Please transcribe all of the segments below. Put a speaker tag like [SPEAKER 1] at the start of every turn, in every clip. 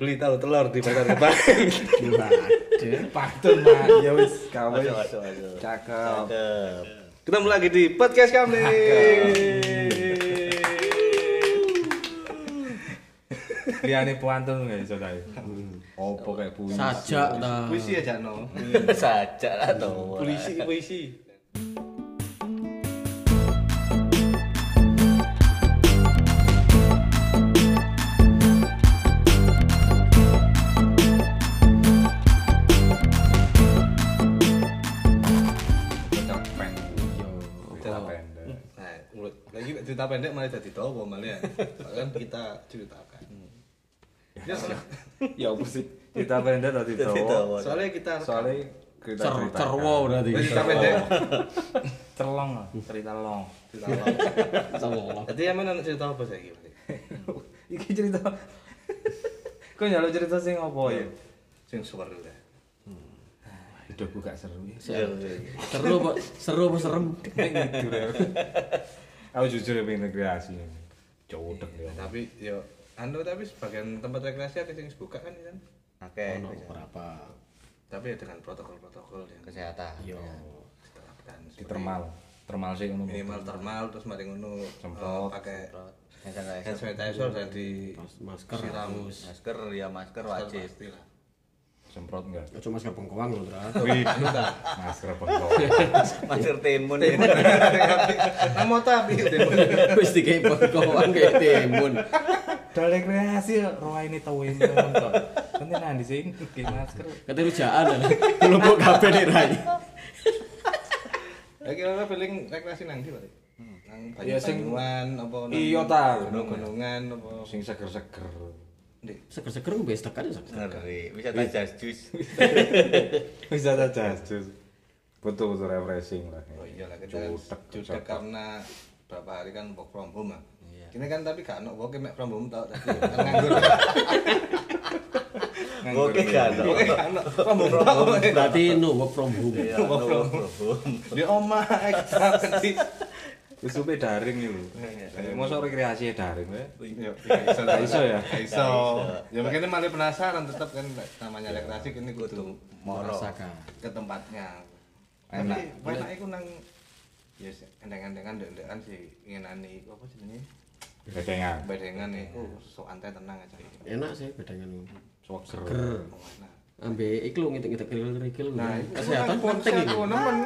[SPEAKER 1] beli tahu telur di pasar kemarin
[SPEAKER 2] Waduh, pantun mah. Ya wis, gawe.
[SPEAKER 3] Masuk, masuk, masuk.
[SPEAKER 2] Cakep.
[SPEAKER 3] Cakep.
[SPEAKER 1] ketemu lagi di podcast kami
[SPEAKER 4] Liane puantun nggak iso kae. Opo kayak puisi.
[SPEAKER 5] Sajak ta.
[SPEAKER 1] Ah.
[SPEAKER 2] Puisi aja no.
[SPEAKER 1] Hmm,
[SPEAKER 3] Sajak lah
[SPEAKER 1] ya,
[SPEAKER 3] tuh.
[SPEAKER 1] puisi puisi
[SPEAKER 2] Kita peng.
[SPEAKER 4] Cerita pendek.
[SPEAKER 1] nah mulut lagi nek cerita pendek malah jadi tahu malah ya kan kita ceritakan Ya,
[SPEAKER 2] Ya apa sih?
[SPEAKER 4] Cerita pendek tadi
[SPEAKER 3] Jadi
[SPEAKER 4] tahu.
[SPEAKER 3] tahu.
[SPEAKER 1] soalnya kita
[SPEAKER 4] Soalnya kita
[SPEAKER 5] Cer
[SPEAKER 4] ceritakan.
[SPEAKER 5] cerwo berarti.
[SPEAKER 1] cerita pendek
[SPEAKER 4] Cerlong lah, ah, cerita long.
[SPEAKER 1] cerita lama.
[SPEAKER 5] Cerwo.
[SPEAKER 1] Jadi yang mana cerita apa saya gitu?
[SPEAKER 4] Iki cerita. Kok nyalo cerita sing opo
[SPEAKER 1] Oh,
[SPEAKER 4] ya?
[SPEAKER 1] iya. Sing ya. seru deh.
[SPEAKER 4] Hidup gak seru ya.
[SPEAKER 5] Seru apa? Seru apa serem?
[SPEAKER 4] Jujur ya. Aku jujur ya pengen rekreasi. Cowok ya.
[SPEAKER 1] Tapi yo anu tapi sebagian tempat rekreasi ada yang buka kan kan.
[SPEAKER 3] Oke,
[SPEAKER 5] Ono berapa?
[SPEAKER 1] Tapi ya dengan protokol-protokol yang iya,
[SPEAKER 3] kesehatan. iya.
[SPEAKER 5] Yo.
[SPEAKER 1] diterapkan.
[SPEAKER 4] Di termal. Termal sih ngono.
[SPEAKER 1] Minimal termal terus mari ngono eh,
[SPEAKER 4] Semprot.
[SPEAKER 1] pakai
[SPEAKER 3] Hand sanitizer.
[SPEAKER 1] hand sanitizer Iya. dan di
[SPEAKER 5] Masker.
[SPEAKER 1] siram
[SPEAKER 3] Masker ya masker wajib.
[SPEAKER 1] pasti lah.
[SPEAKER 4] Semprot enggak?
[SPEAKER 5] Ojo masker bengkoang lho, Tra.
[SPEAKER 4] Wih, masker pengkol.
[SPEAKER 3] Masker timun.
[SPEAKER 1] Namo Nah, tapi
[SPEAKER 5] Wis dikei bengkoang kayak timun.
[SPEAKER 4] Dal rekreasi roa ini tahu ini nonton. Nanti nanti sing di masker.
[SPEAKER 5] Kate rujaan lho. Kelompok kabeh nek rai.
[SPEAKER 1] Lagi ora paling rekreasi nang ndi, Pak?
[SPEAKER 3] Hmm.
[SPEAKER 1] Nang
[SPEAKER 4] Ya, sing-
[SPEAKER 1] Banyuwangi apa nang
[SPEAKER 4] Iya, ta.
[SPEAKER 1] Gunung-gunungan apa
[SPEAKER 4] Sing seger-seger.
[SPEAKER 1] Ndek.
[SPEAKER 5] Seger-seger wis tekan ya.
[SPEAKER 1] Nah,
[SPEAKER 3] Ngeri.
[SPEAKER 1] iya.
[SPEAKER 3] Wisata jas jus.
[SPEAKER 4] Wisata jas jus. Betul-betul refreshing lah.
[SPEAKER 1] Oh iya lah kita
[SPEAKER 4] Cudek,
[SPEAKER 1] cudek karena berapa hari kan work from home ah.
[SPEAKER 3] Iya.
[SPEAKER 1] Ini kan tapi gak ono work mek from home tau tapi kan nganggur.
[SPEAKER 3] Oke kan.
[SPEAKER 1] Work gak ono from home tau.
[SPEAKER 5] Berarti no work from home.
[SPEAKER 3] Iya, no.
[SPEAKER 1] Di omah eh, ekstra penting.
[SPEAKER 4] Wis supe daring iki. Eh, Mosok rekreasi daring ya.
[SPEAKER 1] Yo, iso lah,
[SPEAKER 4] Gak iso ya?
[SPEAKER 1] Gak Iso. Ya makanya malah penasaran tetap kan namanya rekreasi ini kudu moro
[SPEAKER 5] Merasakan.
[SPEAKER 1] ke tempatnya.
[SPEAKER 4] Enak.
[SPEAKER 1] Tapi enak iku nang ya endeng-endengan ndek-ndekan sih ngenani apa jenenge?
[SPEAKER 4] Bedengan.
[SPEAKER 1] Badengan iku sok antai tenang aja.
[SPEAKER 5] Enak sih bedangan.
[SPEAKER 4] Seger.
[SPEAKER 1] Oh, enak.
[SPEAKER 5] Ambe iku lho ngitik-ngitik kerikil-kerikil.
[SPEAKER 1] Nah,
[SPEAKER 5] Kesehatan penting
[SPEAKER 1] itu.
[SPEAKER 5] iki.
[SPEAKER 1] Nemen.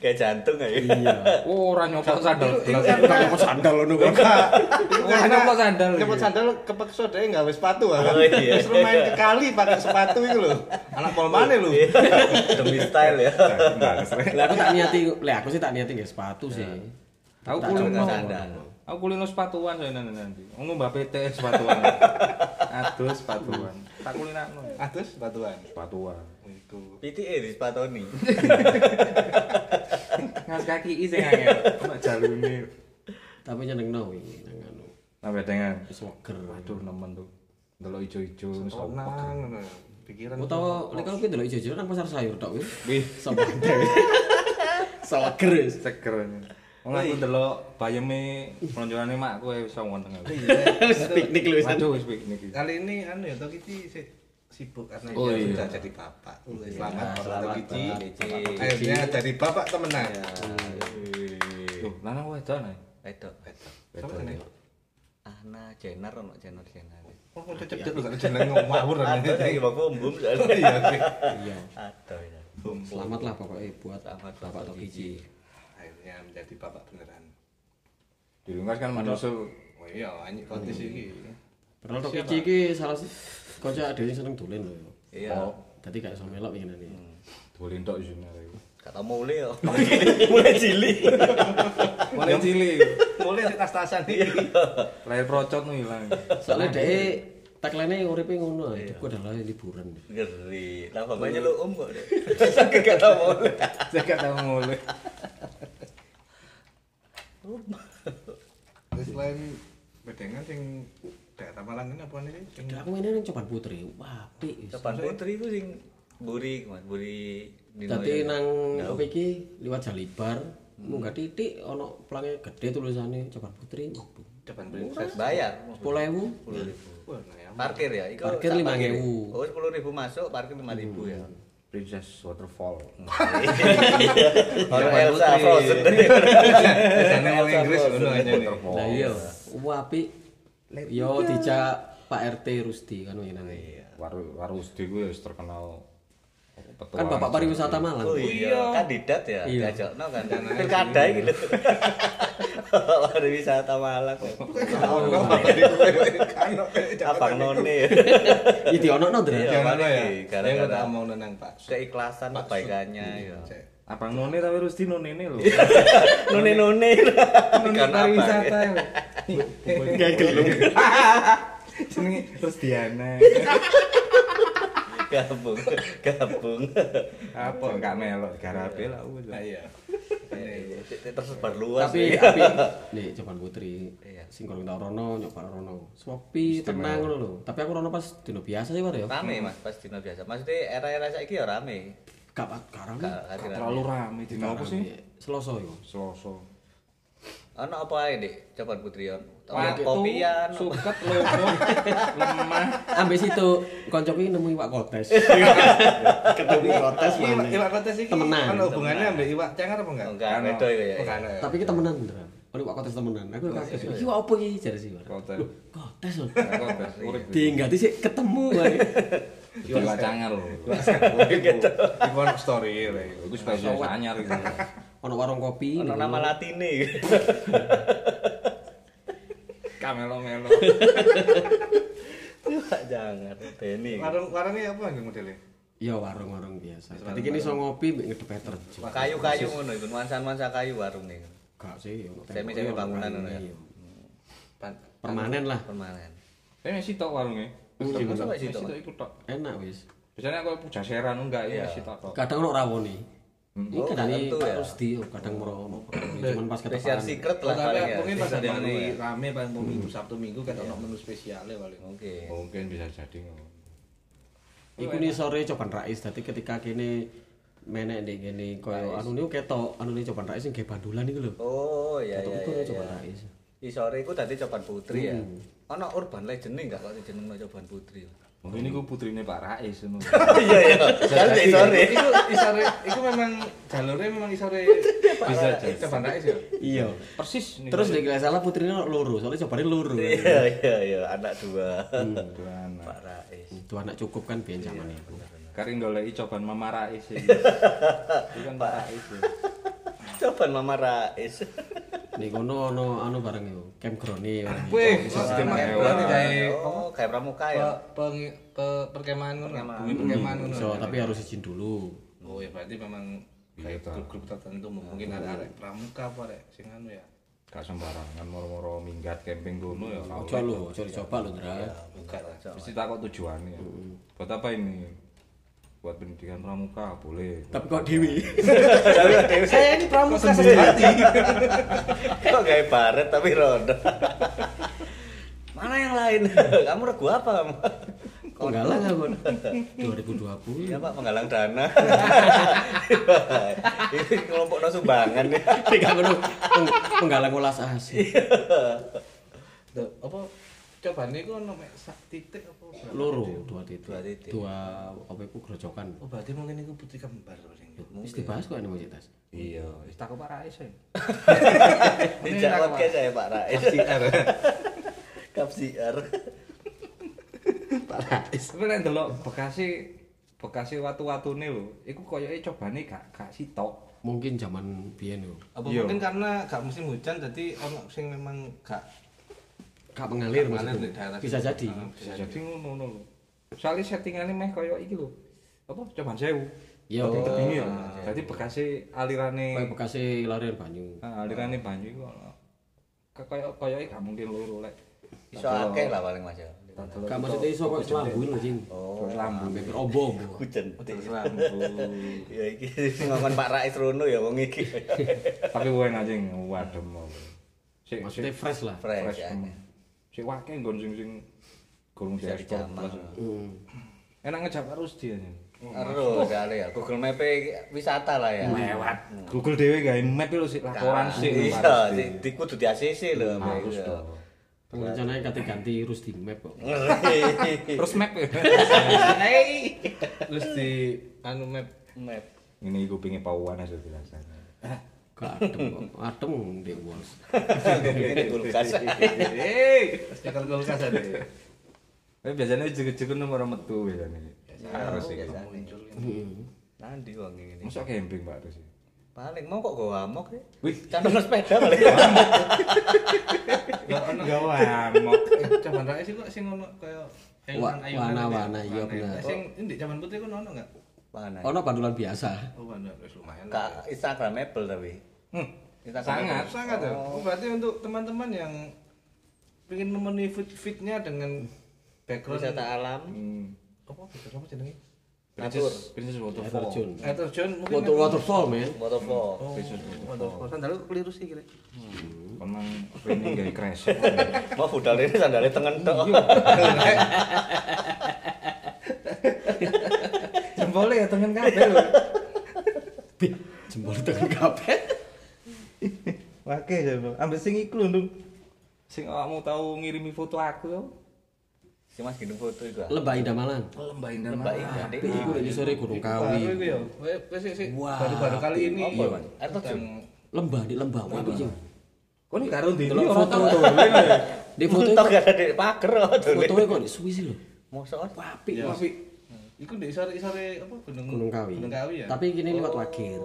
[SPEAKER 3] Kayak jantung ya.
[SPEAKER 5] Iya.
[SPEAKER 4] Oh, Ora nyopot sandal.
[SPEAKER 5] Kok sandal ono kok.
[SPEAKER 4] Wah, nyopot sandal.
[SPEAKER 1] Nyopot sandal iya. kepeksa deh nggak wis sepatu ah.
[SPEAKER 3] Oh, iya.
[SPEAKER 1] Terus main ke kali pakai sepatu itu loh. Anak pol mana lu?
[SPEAKER 3] Demi style ya.
[SPEAKER 5] Lah aku tak niati, Iya. lah aku sih tak niati nggak sepatu sih.
[SPEAKER 4] Aku
[SPEAKER 3] Tak
[SPEAKER 4] kulino.
[SPEAKER 3] cocok sandal.
[SPEAKER 4] Aku kulino sepatuan saya nanti nanti. Ngomong mbak PT sepatuan. Aduh sepatuan. Tak kulinakno.
[SPEAKER 1] Ah terus sepatuan. Oh,
[SPEAKER 4] Sepatuan.
[SPEAKER 1] Itu.
[SPEAKER 3] PTA di Spatoni.
[SPEAKER 4] Ngas kaki iseng angel. Mbak jalune.
[SPEAKER 5] Tapi nyeneng no ini nang anu.
[SPEAKER 4] Nah bedengan.
[SPEAKER 5] Wis wager.
[SPEAKER 4] Aduh nemen tuh. Delok ijo-ijo sopok.
[SPEAKER 1] Tenang. Pikiran.
[SPEAKER 5] Utawa lek aku ndelok ijo-ijo nang pasar sayur tok wis.
[SPEAKER 4] Wih,
[SPEAKER 5] Sopo Sawager wis.
[SPEAKER 4] seger. Wong aku delok bayeme pelonjolane makku wis wong tengah.
[SPEAKER 5] Wis piknik lho wis.
[SPEAKER 4] Waduh wis piknik iki.
[SPEAKER 1] Kali ini anu ya Tok Kiti si- sibuk karena
[SPEAKER 4] Oh,
[SPEAKER 1] dia
[SPEAKER 4] iya.
[SPEAKER 1] sudah jadi bapak. Selamat Pak Tok
[SPEAKER 3] selamat,
[SPEAKER 1] Kiti.
[SPEAKER 3] Pak Kiti.
[SPEAKER 1] Akhirnya jadi bapak temenan.
[SPEAKER 4] Duh, lanang wedok ae.
[SPEAKER 3] Wedok, wedok.
[SPEAKER 1] Sama jenenge?
[SPEAKER 3] Ana Jenner ono Jenner Jenner.
[SPEAKER 1] Oh, udah cedek lu kan jeneng ngawur.
[SPEAKER 3] Ada lagi
[SPEAKER 1] Iya.
[SPEAKER 3] bapak umum soalnya.
[SPEAKER 5] Iya.
[SPEAKER 3] Ada ya. Bum.
[SPEAKER 5] Selamatlah pokoknya buat
[SPEAKER 3] Selamat,
[SPEAKER 5] Bapak
[SPEAKER 3] Bapak
[SPEAKER 5] Tokiji.
[SPEAKER 1] Akhirnya menjadi bapak beneran.
[SPEAKER 4] Dilungkas kan manusia
[SPEAKER 1] Oh iya, anjing kotis iki.
[SPEAKER 5] Padahal Tokiji iki salah sih kanca dhewe seneng dolen lho. Oh.
[SPEAKER 3] Iya.
[SPEAKER 5] Dadi gak iso melok ngene iki.
[SPEAKER 4] dolen tok isine arek.
[SPEAKER 3] Kata mulai yo. Mulai cilik.
[SPEAKER 4] Mulai cilik.
[SPEAKER 1] Mulai sik tas-tasan iki.
[SPEAKER 4] Lahir procot nu ilang.
[SPEAKER 5] Soale dhek tagline uripe ngono, hidupku adalah liburan.
[SPEAKER 3] Ngeri. Lah bapaknya lu om kok. Dek. Sakit kata mulai.
[SPEAKER 4] Saya gak tau mulai.
[SPEAKER 1] Terus selain bedengan sing daerah Malang ini apa nih? Sing
[SPEAKER 5] Dah aku ini nang Coban Putri. Wah, apik wis.
[SPEAKER 3] Depan putri itu sing buri, Mas. Buri Dino
[SPEAKER 5] Dadi
[SPEAKER 3] ya.
[SPEAKER 5] nang opo iki liwat Jalibar, munggah titik ana plange gede tulisane Coban Putri.
[SPEAKER 1] depan beli
[SPEAKER 3] Bayar.
[SPEAKER 5] 10000.
[SPEAKER 1] Wah, nah ya.
[SPEAKER 3] Parkir ya, iku
[SPEAKER 5] Parkir Hmm.
[SPEAKER 3] sak
[SPEAKER 5] 5.000.
[SPEAKER 3] Oh, 10.000 masuk, parkir 5.000 ya.
[SPEAKER 4] Princess Waterfall.
[SPEAKER 3] Orang
[SPEAKER 5] Iya,
[SPEAKER 3] Elsa Frozen. Iya,
[SPEAKER 1] Sana oleh Inggris ngono aja nih.
[SPEAKER 3] Oh,
[SPEAKER 5] Lah iya, wapi. Yo dijak Pak RT Rusti kan
[SPEAKER 3] Iya.
[SPEAKER 5] winane.
[SPEAKER 6] Waru waru SD gue wis terkenal petualang.
[SPEAKER 5] Kan Bapak Pariwisata Malang.
[SPEAKER 3] Oh iya, kandidat ya
[SPEAKER 5] Iya.
[SPEAKER 3] diajakno kan. Pilkada iki lho. Pariwisata Malang. Iya, Abang None.
[SPEAKER 5] Iya diono no Dra.
[SPEAKER 1] Yang mana ya?
[SPEAKER 3] Iya,
[SPEAKER 1] Yang
[SPEAKER 3] gara-gara.
[SPEAKER 1] kita mau nenang Pak. Sud.
[SPEAKER 3] Keikhlasan kebaikannya ya.
[SPEAKER 1] Cek.
[SPEAKER 6] Abang None tapi Rusti None ini lho.
[SPEAKER 3] None-none.
[SPEAKER 4] None
[SPEAKER 3] Kan apa?
[SPEAKER 4] pariwisata. Gak gelung.
[SPEAKER 3] Iya,
[SPEAKER 4] Jenenge terus Diana.
[SPEAKER 3] Gabung, gabung.
[SPEAKER 4] Apa enggak melok garape lah wis.
[SPEAKER 1] Nah, iya.
[SPEAKER 3] Iya, Tersebar luas.
[SPEAKER 5] Tapi
[SPEAKER 3] nih.
[SPEAKER 5] tapi nih Jepang Putri.
[SPEAKER 3] Iya.
[SPEAKER 5] Sing kurang tau rono nyoba rono. Sepi tenang ngono lho. Tapi aku rono pas dino biasa sih Pak ya.
[SPEAKER 3] rame mas pas dino biasa maksudnya era-era saiki ya rame
[SPEAKER 5] Gak pak karang.
[SPEAKER 3] Gak- gak dirame.
[SPEAKER 4] Terlalu rame dino apa sih?
[SPEAKER 5] Selasa iku.
[SPEAKER 4] Selasa.
[SPEAKER 3] ono apa ae dik coba putri on
[SPEAKER 6] Waktu,
[SPEAKER 3] kopian
[SPEAKER 6] suket lopo lemah
[SPEAKER 5] Ambek situ koncoku iki nemu iwak kotes. Ketemu kotes
[SPEAKER 1] Iwak
[SPEAKER 5] mana?
[SPEAKER 1] iwak kotes iki
[SPEAKER 5] Temenan.
[SPEAKER 1] Kan hubungannya ambek iwak cengar apa enggak?
[SPEAKER 3] enggak
[SPEAKER 4] Ano.
[SPEAKER 3] beda ya
[SPEAKER 1] Oh, kan, ya.
[SPEAKER 5] Tapi kita temenan, Dra. Ono iwak kotes temenan. Aku kaget.
[SPEAKER 3] Iya.
[SPEAKER 5] Iki iwak opo iki jare sih, Pak?
[SPEAKER 4] Kotes.
[SPEAKER 5] Loh, Kotes lho.
[SPEAKER 4] Kotes urip.
[SPEAKER 5] Diinggati sih ketemu wae.
[SPEAKER 4] Iwak cangar lho.
[SPEAKER 1] Gitu. Iku ono story ya.
[SPEAKER 4] Iku spesial anyar gitu.
[SPEAKER 5] Ono warung kopi.
[SPEAKER 3] ono
[SPEAKER 5] nemu.
[SPEAKER 3] nama latine
[SPEAKER 4] Kamelo-melo.
[SPEAKER 3] Wah, jangan Denny
[SPEAKER 1] Warung warungnya apa nggih modelnya?
[SPEAKER 5] Ya warung-warung biasa. Dadi kene iso ngopi mbek ngedep terjun.
[SPEAKER 3] kayu-kayu ngono itu nuansa-nuansa kayu warung nih
[SPEAKER 5] Gak sih, ya.
[SPEAKER 3] Semi-semi bangunan ngono ya.
[SPEAKER 5] Iya.
[SPEAKER 1] Pan-
[SPEAKER 5] Permanen lah.
[SPEAKER 3] permanen
[SPEAKER 4] Eh,
[SPEAKER 6] tapi masih tok warungnya
[SPEAKER 3] Masa
[SPEAKER 6] masih
[SPEAKER 3] masih tok?
[SPEAKER 6] tok iku tok
[SPEAKER 5] Enak wis.
[SPEAKER 6] biasanya aku puja seran enggak
[SPEAKER 3] Iya.
[SPEAKER 6] ya masih tok tok
[SPEAKER 5] Kadang ono rawone. Ini
[SPEAKER 3] Oh,
[SPEAKER 5] kadang ini
[SPEAKER 3] kadang tuh ya.
[SPEAKER 5] Pak Rusdi, oh, kadang merono. Cuman pas
[SPEAKER 3] spesial
[SPEAKER 5] ketepaan.
[SPEAKER 3] secret
[SPEAKER 1] Oh,
[SPEAKER 3] lah
[SPEAKER 1] tapi
[SPEAKER 3] paling ya
[SPEAKER 1] mungkin pas
[SPEAKER 3] Spesial
[SPEAKER 1] ada
[SPEAKER 3] menu
[SPEAKER 1] hari
[SPEAKER 3] ya.
[SPEAKER 1] rame pas mau minggu Sabtu Minggu kan ono menu spesialnya paling.
[SPEAKER 3] mungkin
[SPEAKER 4] Hmm. Mungkin bisa jadi ngono.
[SPEAKER 5] Iku
[SPEAKER 3] Oh,
[SPEAKER 5] nih sore coban rais, dadi ketika kene menek ndek kene koyo anu niku ketok, anu nih coban rais sing ge bandulan iku lho.
[SPEAKER 3] oh iya
[SPEAKER 5] Ketok
[SPEAKER 3] iya
[SPEAKER 5] iku
[SPEAKER 3] iya,
[SPEAKER 5] nih coban
[SPEAKER 3] iya
[SPEAKER 5] rais.
[SPEAKER 3] di sore iku tadi cobaan putri ya ono urban legend enggak kok dijenengno cobaan putri
[SPEAKER 4] Mungkin iku putrine Pak Rais ngono.
[SPEAKER 3] Oh, iya iya kan di sore
[SPEAKER 1] Iku isore iku memang jalurnya memang isore bisa jadi. Coba naik sih.
[SPEAKER 5] Iya.
[SPEAKER 6] persis nih
[SPEAKER 5] Terus nek gak salah putrine ono loro, soalnya cobane loro.
[SPEAKER 3] iya iya iya anak dua
[SPEAKER 4] Duana.
[SPEAKER 3] Pak Rais
[SPEAKER 5] Itu anak cukup kan biyen zaman iku.
[SPEAKER 4] Kari goleki coban Mama Rais sih. Itu kan Pak Rais. ya.
[SPEAKER 3] Coba Mama Rais.
[SPEAKER 5] Nek kono ono anu bareng iku, campground bareng. iku.
[SPEAKER 1] Wih, sistem berarti kayak
[SPEAKER 3] Oh, kayak pramuka ya.
[SPEAKER 1] pe- peng- pe- perkemahan ngono, bumi perkemahan ngono. ya.
[SPEAKER 5] So, tapi harus izin dulu.
[SPEAKER 1] Oh ya berarti memang kayak grup-grup tertentu mungkin ada arek pramuka apa arek sing anu ya.
[SPEAKER 4] Gak sembarangan moro-moro minggat camping kono ya. ra
[SPEAKER 5] Ojo lho, ojo dicoba lho, Dra.
[SPEAKER 3] Bukan aja.
[SPEAKER 4] Mesti takut tujuannya. Buat apa ini? Buat pendidikan pramuka boleh.
[SPEAKER 5] Tapi kok dewi.
[SPEAKER 1] Saya ini pramuka sejati.
[SPEAKER 3] Kok kayak baret tapi roda. Mana yang lain? Kamu regu apa kamu?
[SPEAKER 5] Kok galang aku. 2020.
[SPEAKER 3] Iya Pak, menggalang dana. Ini kelompok no sumbangan ya.
[SPEAKER 5] Nek gak ngono peng- penggalang ulas asi.
[SPEAKER 1] Tuh, apa coba nih kok nomor sak titik apa berapa?
[SPEAKER 5] Loro, dua titik.
[SPEAKER 3] Dua titik.
[SPEAKER 5] Dua apa iku grojokan.
[SPEAKER 1] Oh berarti mungkin itu putri kembar ya? paling.
[SPEAKER 5] Wis dibahas kok ini mau cerita.
[SPEAKER 4] Iya.
[SPEAKER 6] Wis takut Pak Rais ya
[SPEAKER 3] Dijak podcast saya Pak Rais. Kap siar.
[SPEAKER 6] tapi nek ndelok Bekasi Bekasi watu-watune lho iku koyoke cobane gak gak sitok
[SPEAKER 5] Mungkin zaman biyen yo.
[SPEAKER 1] Apa
[SPEAKER 4] Iya.
[SPEAKER 1] mungkin karena gak musim hujan jadi ono sing memang gak
[SPEAKER 5] Gak mengalir
[SPEAKER 1] Gak mengalir
[SPEAKER 5] Iya, maksudku.
[SPEAKER 1] di daerah
[SPEAKER 5] Bisa
[SPEAKER 1] situ.
[SPEAKER 5] jadi.
[SPEAKER 1] Ah.
[SPEAKER 6] bisa jadi ngono lho soalnya settingannya meh koyo iki lho apa cobaan sewu
[SPEAKER 5] Yo.
[SPEAKER 6] Dadi tebingi ya jadi Bekasi alirane
[SPEAKER 5] Kayak Bekasi larian banyu.
[SPEAKER 6] Nah, alirane banyu iku ana. Ke- Kaya kaya gak mungkin loro lek.
[SPEAKER 3] Iso akeh lah paling Mas. ya.
[SPEAKER 5] Gak maksudnya iso kok selambuin lho, Cing.
[SPEAKER 3] Oh,
[SPEAKER 5] Lambu mek obo.
[SPEAKER 3] hujan.
[SPEAKER 4] Lampu.
[SPEAKER 3] Ya iki ngomong Pak Rais Rono ya wong iki.
[SPEAKER 4] Tapi wae anjing wadem mau. Sik
[SPEAKER 5] Maksudnya
[SPEAKER 4] sik
[SPEAKER 5] fresh lah.
[SPEAKER 3] Fresh. ya.
[SPEAKER 4] temen. Sik wake nggon sing sing gurung
[SPEAKER 3] Bisa
[SPEAKER 4] diekspor
[SPEAKER 3] dijamah.
[SPEAKER 4] plus.
[SPEAKER 5] Hmm.
[SPEAKER 4] Enak ngejak harus dia anjing.
[SPEAKER 3] Ero soalnya ya Google Map wisata lah ya.
[SPEAKER 4] Lewat. Google dhewe gawe map lho sik laporan sik.
[SPEAKER 3] iya, di, di kudu di ACC lho.
[SPEAKER 4] Harus
[SPEAKER 3] Iya.
[SPEAKER 4] dong.
[SPEAKER 5] Rencananya ganti-ganti Rusdi Map kok.
[SPEAKER 3] Ngeri.
[SPEAKER 6] Terus map ya.
[SPEAKER 3] Hei.
[SPEAKER 1] Terus di anu map
[SPEAKER 3] Map.
[SPEAKER 4] Ini iku pengen pauan aja biasanya.
[SPEAKER 5] Gak adem kok. Adem di Walls.
[SPEAKER 3] Ini kulkas.
[SPEAKER 1] Eh. Tekel kulkas ada. ya.
[SPEAKER 4] Tapi Eh, biasanya jegek-jegek nomor metu biasanya. Harus iki.
[SPEAKER 1] Muncul ini.
[SPEAKER 3] Nanti wong ini.
[SPEAKER 4] Masa camping Pak harus iki.
[SPEAKER 3] Paling mau kok gua amok ya.
[SPEAKER 4] Wih.
[SPEAKER 3] Cantol sepeda paling.
[SPEAKER 1] Gak ono
[SPEAKER 4] Enggak amok.
[SPEAKER 1] Caban rakyat Eh, sih kok sing ono kaya
[SPEAKER 5] Wa- wana-wana, iya bener.
[SPEAKER 1] Sing ini caban putih kan ono enggak?
[SPEAKER 3] Mana?
[SPEAKER 5] Ono bandulan biasa.
[SPEAKER 1] Oh, ono wis lumayan.
[SPEAKER 3] Kak Instagramable tapi. Hmm.
[SPEAKER 1] sangat sangat ya. Oh, berarti untuk teman-teman yang ingin memenuhi fit fitnya dengan background
[SPEAKER 3] Wisata alam.
[SPEAKER 4] Hmm.
[SPEAKER 1] apa background apa jenenge?
[SPEAKER 3] Natur.
[SPEAKER 4] Princess
[SPEAKER 5] Air
[SPEAKER 4] Waterfall.
[SPEAKER 5] terjun.
[SPEAKER 1] Air terjun Eh, mungkin
[SPEAKER 5] Water waterfall men.
[SPEAKER 3] Motovlog.
[SPEAKER 4] Princess Waterfall.
[SPEAKER 1] Oh, sandal lu keliru sih kira.
[SPEAKER 4] Kon mang pengen gawe crash.
[SPEAKER 3] Mau Oh, budal ini sandalnya tengen tok.
[SPEAKER 4] Jempole ya tengen kabeh lho.
[SPEAKER 5] Bih, jempol tekan kabeh.
[SPEAKER 4] Wake jempol. Ambek sing iku lho, Ndung. Sing awakmu tau ngirimi foto aku yo.
[SPEAKER 3] Si Mas gendong foto itu. ah.
[SPEAKER 5] Lembah Indah Malang.
[SPEAKER 4] Lembah Indah
[SPEAKER 3] Mbak Ida. Dek.
[SPEAKER 5] Tapi iku lagi sore Gunung
[SPEAKER 1] Baru iku
[SPEAKER 5] Kawi.
[SPEAKER 1] ya. Wes, Wes sih, sih.
[SPEAKER 5] Wah.
[SPEAKER 1] Baru-baru kali ini.
[SPEAKER 3] Apa, Mas? Air terjun.
[SPEAKER 1] tentang-
[SPEAKER 5] Lembah di lembah wae iki.
[SPEAKER 4] Kon iki karo ndi?
[SPEAKER 5] Delok
[SPEAKER 4] Ora
[SPEAKER 5] foto.
[SPEAKER 4] tau.
[SPEAKER 5] Di foto
[SPEAKER 3] Tok gak ada di pager kok dulu.
[SPEAKER 5] fotonya kok di suwi sih lho.
[SPEAKER 3] Mosok kan?
[SPEAKER 5] Apik
[SPEAKER 1] Ya.
[SPEAKER 5] kok.
[SPEAKER 1] Hmm. Iku ndek sore-sore apa gunung
[SPEAKER 5] Gunung Kawi.
[SPEAKER 1] Gunung Kawi ya. Iya,
[SPEAKER 5] Tapi gini lewat Wagir.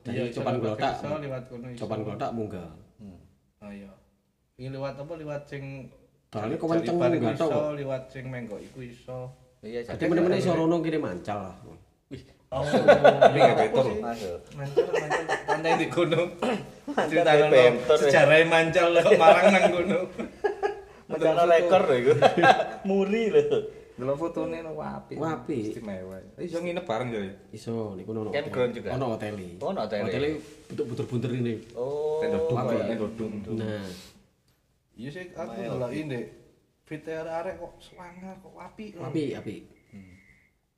[SPEAKER 5] Dari
[SPEAKER 1] iso
[SPEAKER 5] Copan
[SPEAKER 1] lewat
[SPEAKER 5] Glotak.
[SPEAKER 1] Wagir, iso lewat kono, iso.
[SPEAKER 5] Copan Glotak munggah.
[SPEAKER 1] Oh iya. Ini lewat apa lewat sing Jari-
[SPEAKER 5] Dalane kok kenceng,
[SPEAKER 1] jari bar iku
[SPEAKER 5] nggak
[SPEAKER 1] iso,
[SPEAKER 5] tau kok.
[SPEAKER 1] Lewat sing menggo iku iso.
[SPEAKER 3] Iya, jadi.
[SPEAKER 5] Jadi mana-mana iso rono kene mancal lah.
[SPEAKER 1] Oh.
[SPEAKER 4] Tapi gak betor. lho.
[SPEAKER 3] Masuk.
[SPEAKER 1] Mancal mancal pantai di gunung.
[SPEAKER 3] Mancal
[SPEAKER 1] Cerita
[SPEAKER 3] kayak bentor,
[SPEAKER 1] no
[SPEAKER 3] ya.
[SPEAKER 1] sejarah mancal lo marang nang gunung.
[SPEAKER 3] Macam rekor loh itu. Muri loh.
[SPEAKER 4] Delok fotone no apik.
[SPEAKER 5] Wah, apik.
[SPEAKER 4] Istimewa. Iso nginep bareng yo.
[SPEAKER 5] Iso niku ono.
[SPEAKER 3] Campground
[SPEAKER 5] hotel.
[SPEAKER 3] juga?
[SPEAKER 5] Ono hoteli.
[SPEAKER 3] Oh, ono hoteli.
[SPEAKER 5] Hoteli bentuk bunder-bunder ini.
[SPEAKER 3] Oh.
[SPEAKER 4] Tenda dung,
[SPEAKER 5] apik.
[SPEAKER 4] tenda dung.
[SPEAKER 5] Nah,
[SPEAKER 1] Iya sih aku ngeloki ndek fit arek kok selangar kok api.
[SPEAKER 5] apik apik.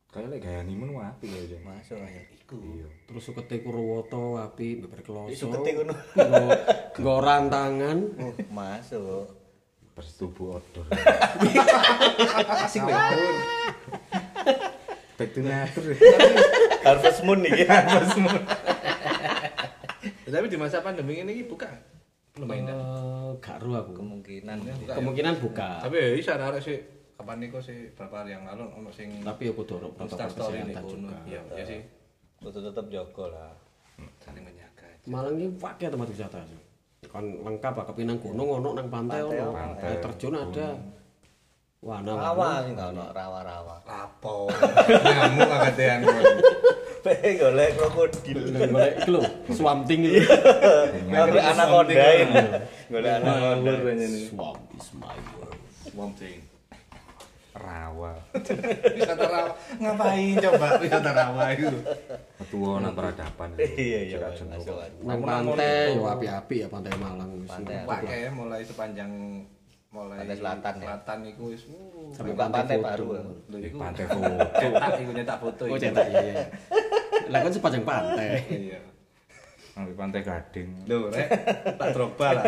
[SPEAKER 4] Kayak lek gaya nimun wah apik ya. Jeng.
[SPEAKER 3] Masuk aja.
[SPEAKER 4] Iya.
[SPEAKER 5] Terus sukete Kurwoto apik, beber kloso.
[SPEAKER 3] Sukete kuno.
[SPEAKER 5] Nggo- Nggoran tangan.
[SPEAKER 3] Oh, masuk.
[SPEAKER 4] Bersetubuh outdoor.
[SPEAKER 1] Asik banget.
[SPEAKER 4] Back to nature.
[SPEAKER 3] Harvest Moon nih ya.
[SPEAKER 1] Tapi di masa pandemi ini iki buka. Lumayan. dah.
[SPEAKER 5] Eh, Gak ro aku.
[SPEAKER 3] Kemungkinan.
[SPEAKER 5] Kemungkinan buka.
[SPEAKER 1] Tapi ya iso arek sih kapan niku sih beberapa hari yang lalu ono sing
[SPEAKER 5] Tapi aku dorong protokol
[SPEAKER 1] Insta story
[SPEAKER 5] kesehatan
[SPEAKER 1] nih kono.
[SPEAKER 5] juga.
[SPEAKER 1] Iya, iya sih.
[SPEAKER 3] Tetap tetap jago lah.
[SPEAKER 1] Saling menjaga.
[SPEAKER 5] Malang ini pakai tempat wisata sih. Kan lengkap lah, kepinang gunung, ono nang pantai, ono
[SPEAKER 4] Pantai.
[SPEAKER 5] air terjun ada. Wana wana.
[SPEAKER 3] Rawa sih nggak ono rawa-rawa.
[SPEAKER 1] Lapo. Ngamuk akatean kon.
[SPEAKER 3] Pengen golek krokodil.
[SPEAKER 5] Golek iki lho, swamping itu.
[SPEAKER 3] Golek anak kondain. Golek anak kondain.
[SPEAKER 5] Swamp is my world.
[SPEAKER 1] Wong sing.
[SPEAKER 4] Rawa.
[SPEAKER 1] Wisata rawa. Ngapain coba wisata rawa itu?
[SPEAKER 4] Metua nang peradaban.
[SPEAKER 3] Iya iya
[SPEAKER 4] Jerat
[SPEAKER 3] masuk,
[SPEAKER 4] jengkol.
[SPEAKER 3] masuk. masuk.
[SPEAKER 5] Nang pantai, yo api-api ya pantai Malang.
[SPEAKER 3] Pantai.
[SPEAKER 1] Pakai ya, mulai sepanjang mulai
[SPEAKER 3] Pantai selatan ya?
[SPEAKER 1] Selatan iku wis wuh.
[SPEAKER 5] Sampai
[SPEAKER 3] Buka pantai
[SPEAKER 5] foto.
[SPEAKER 3] baru.
[SPEAKER 1] Lho,
[SPEAKER 4] Di
[SPEAKER 1] iku
[SPEAKER 4] pantai foto.
[SPEAKER 1] cetak iku nyetak foto
[SPEAKER 5] Oh
[SPEAKER 1] iku.
[SPEAKER 5] cetak iya. iya. Lah kan sepanjang pantai.
[SPEAKER 1] Iya.
[SPEAKER 4] Nang di pantai gading.
[SPEAKER 1] Lho, rek, tak drogba lah.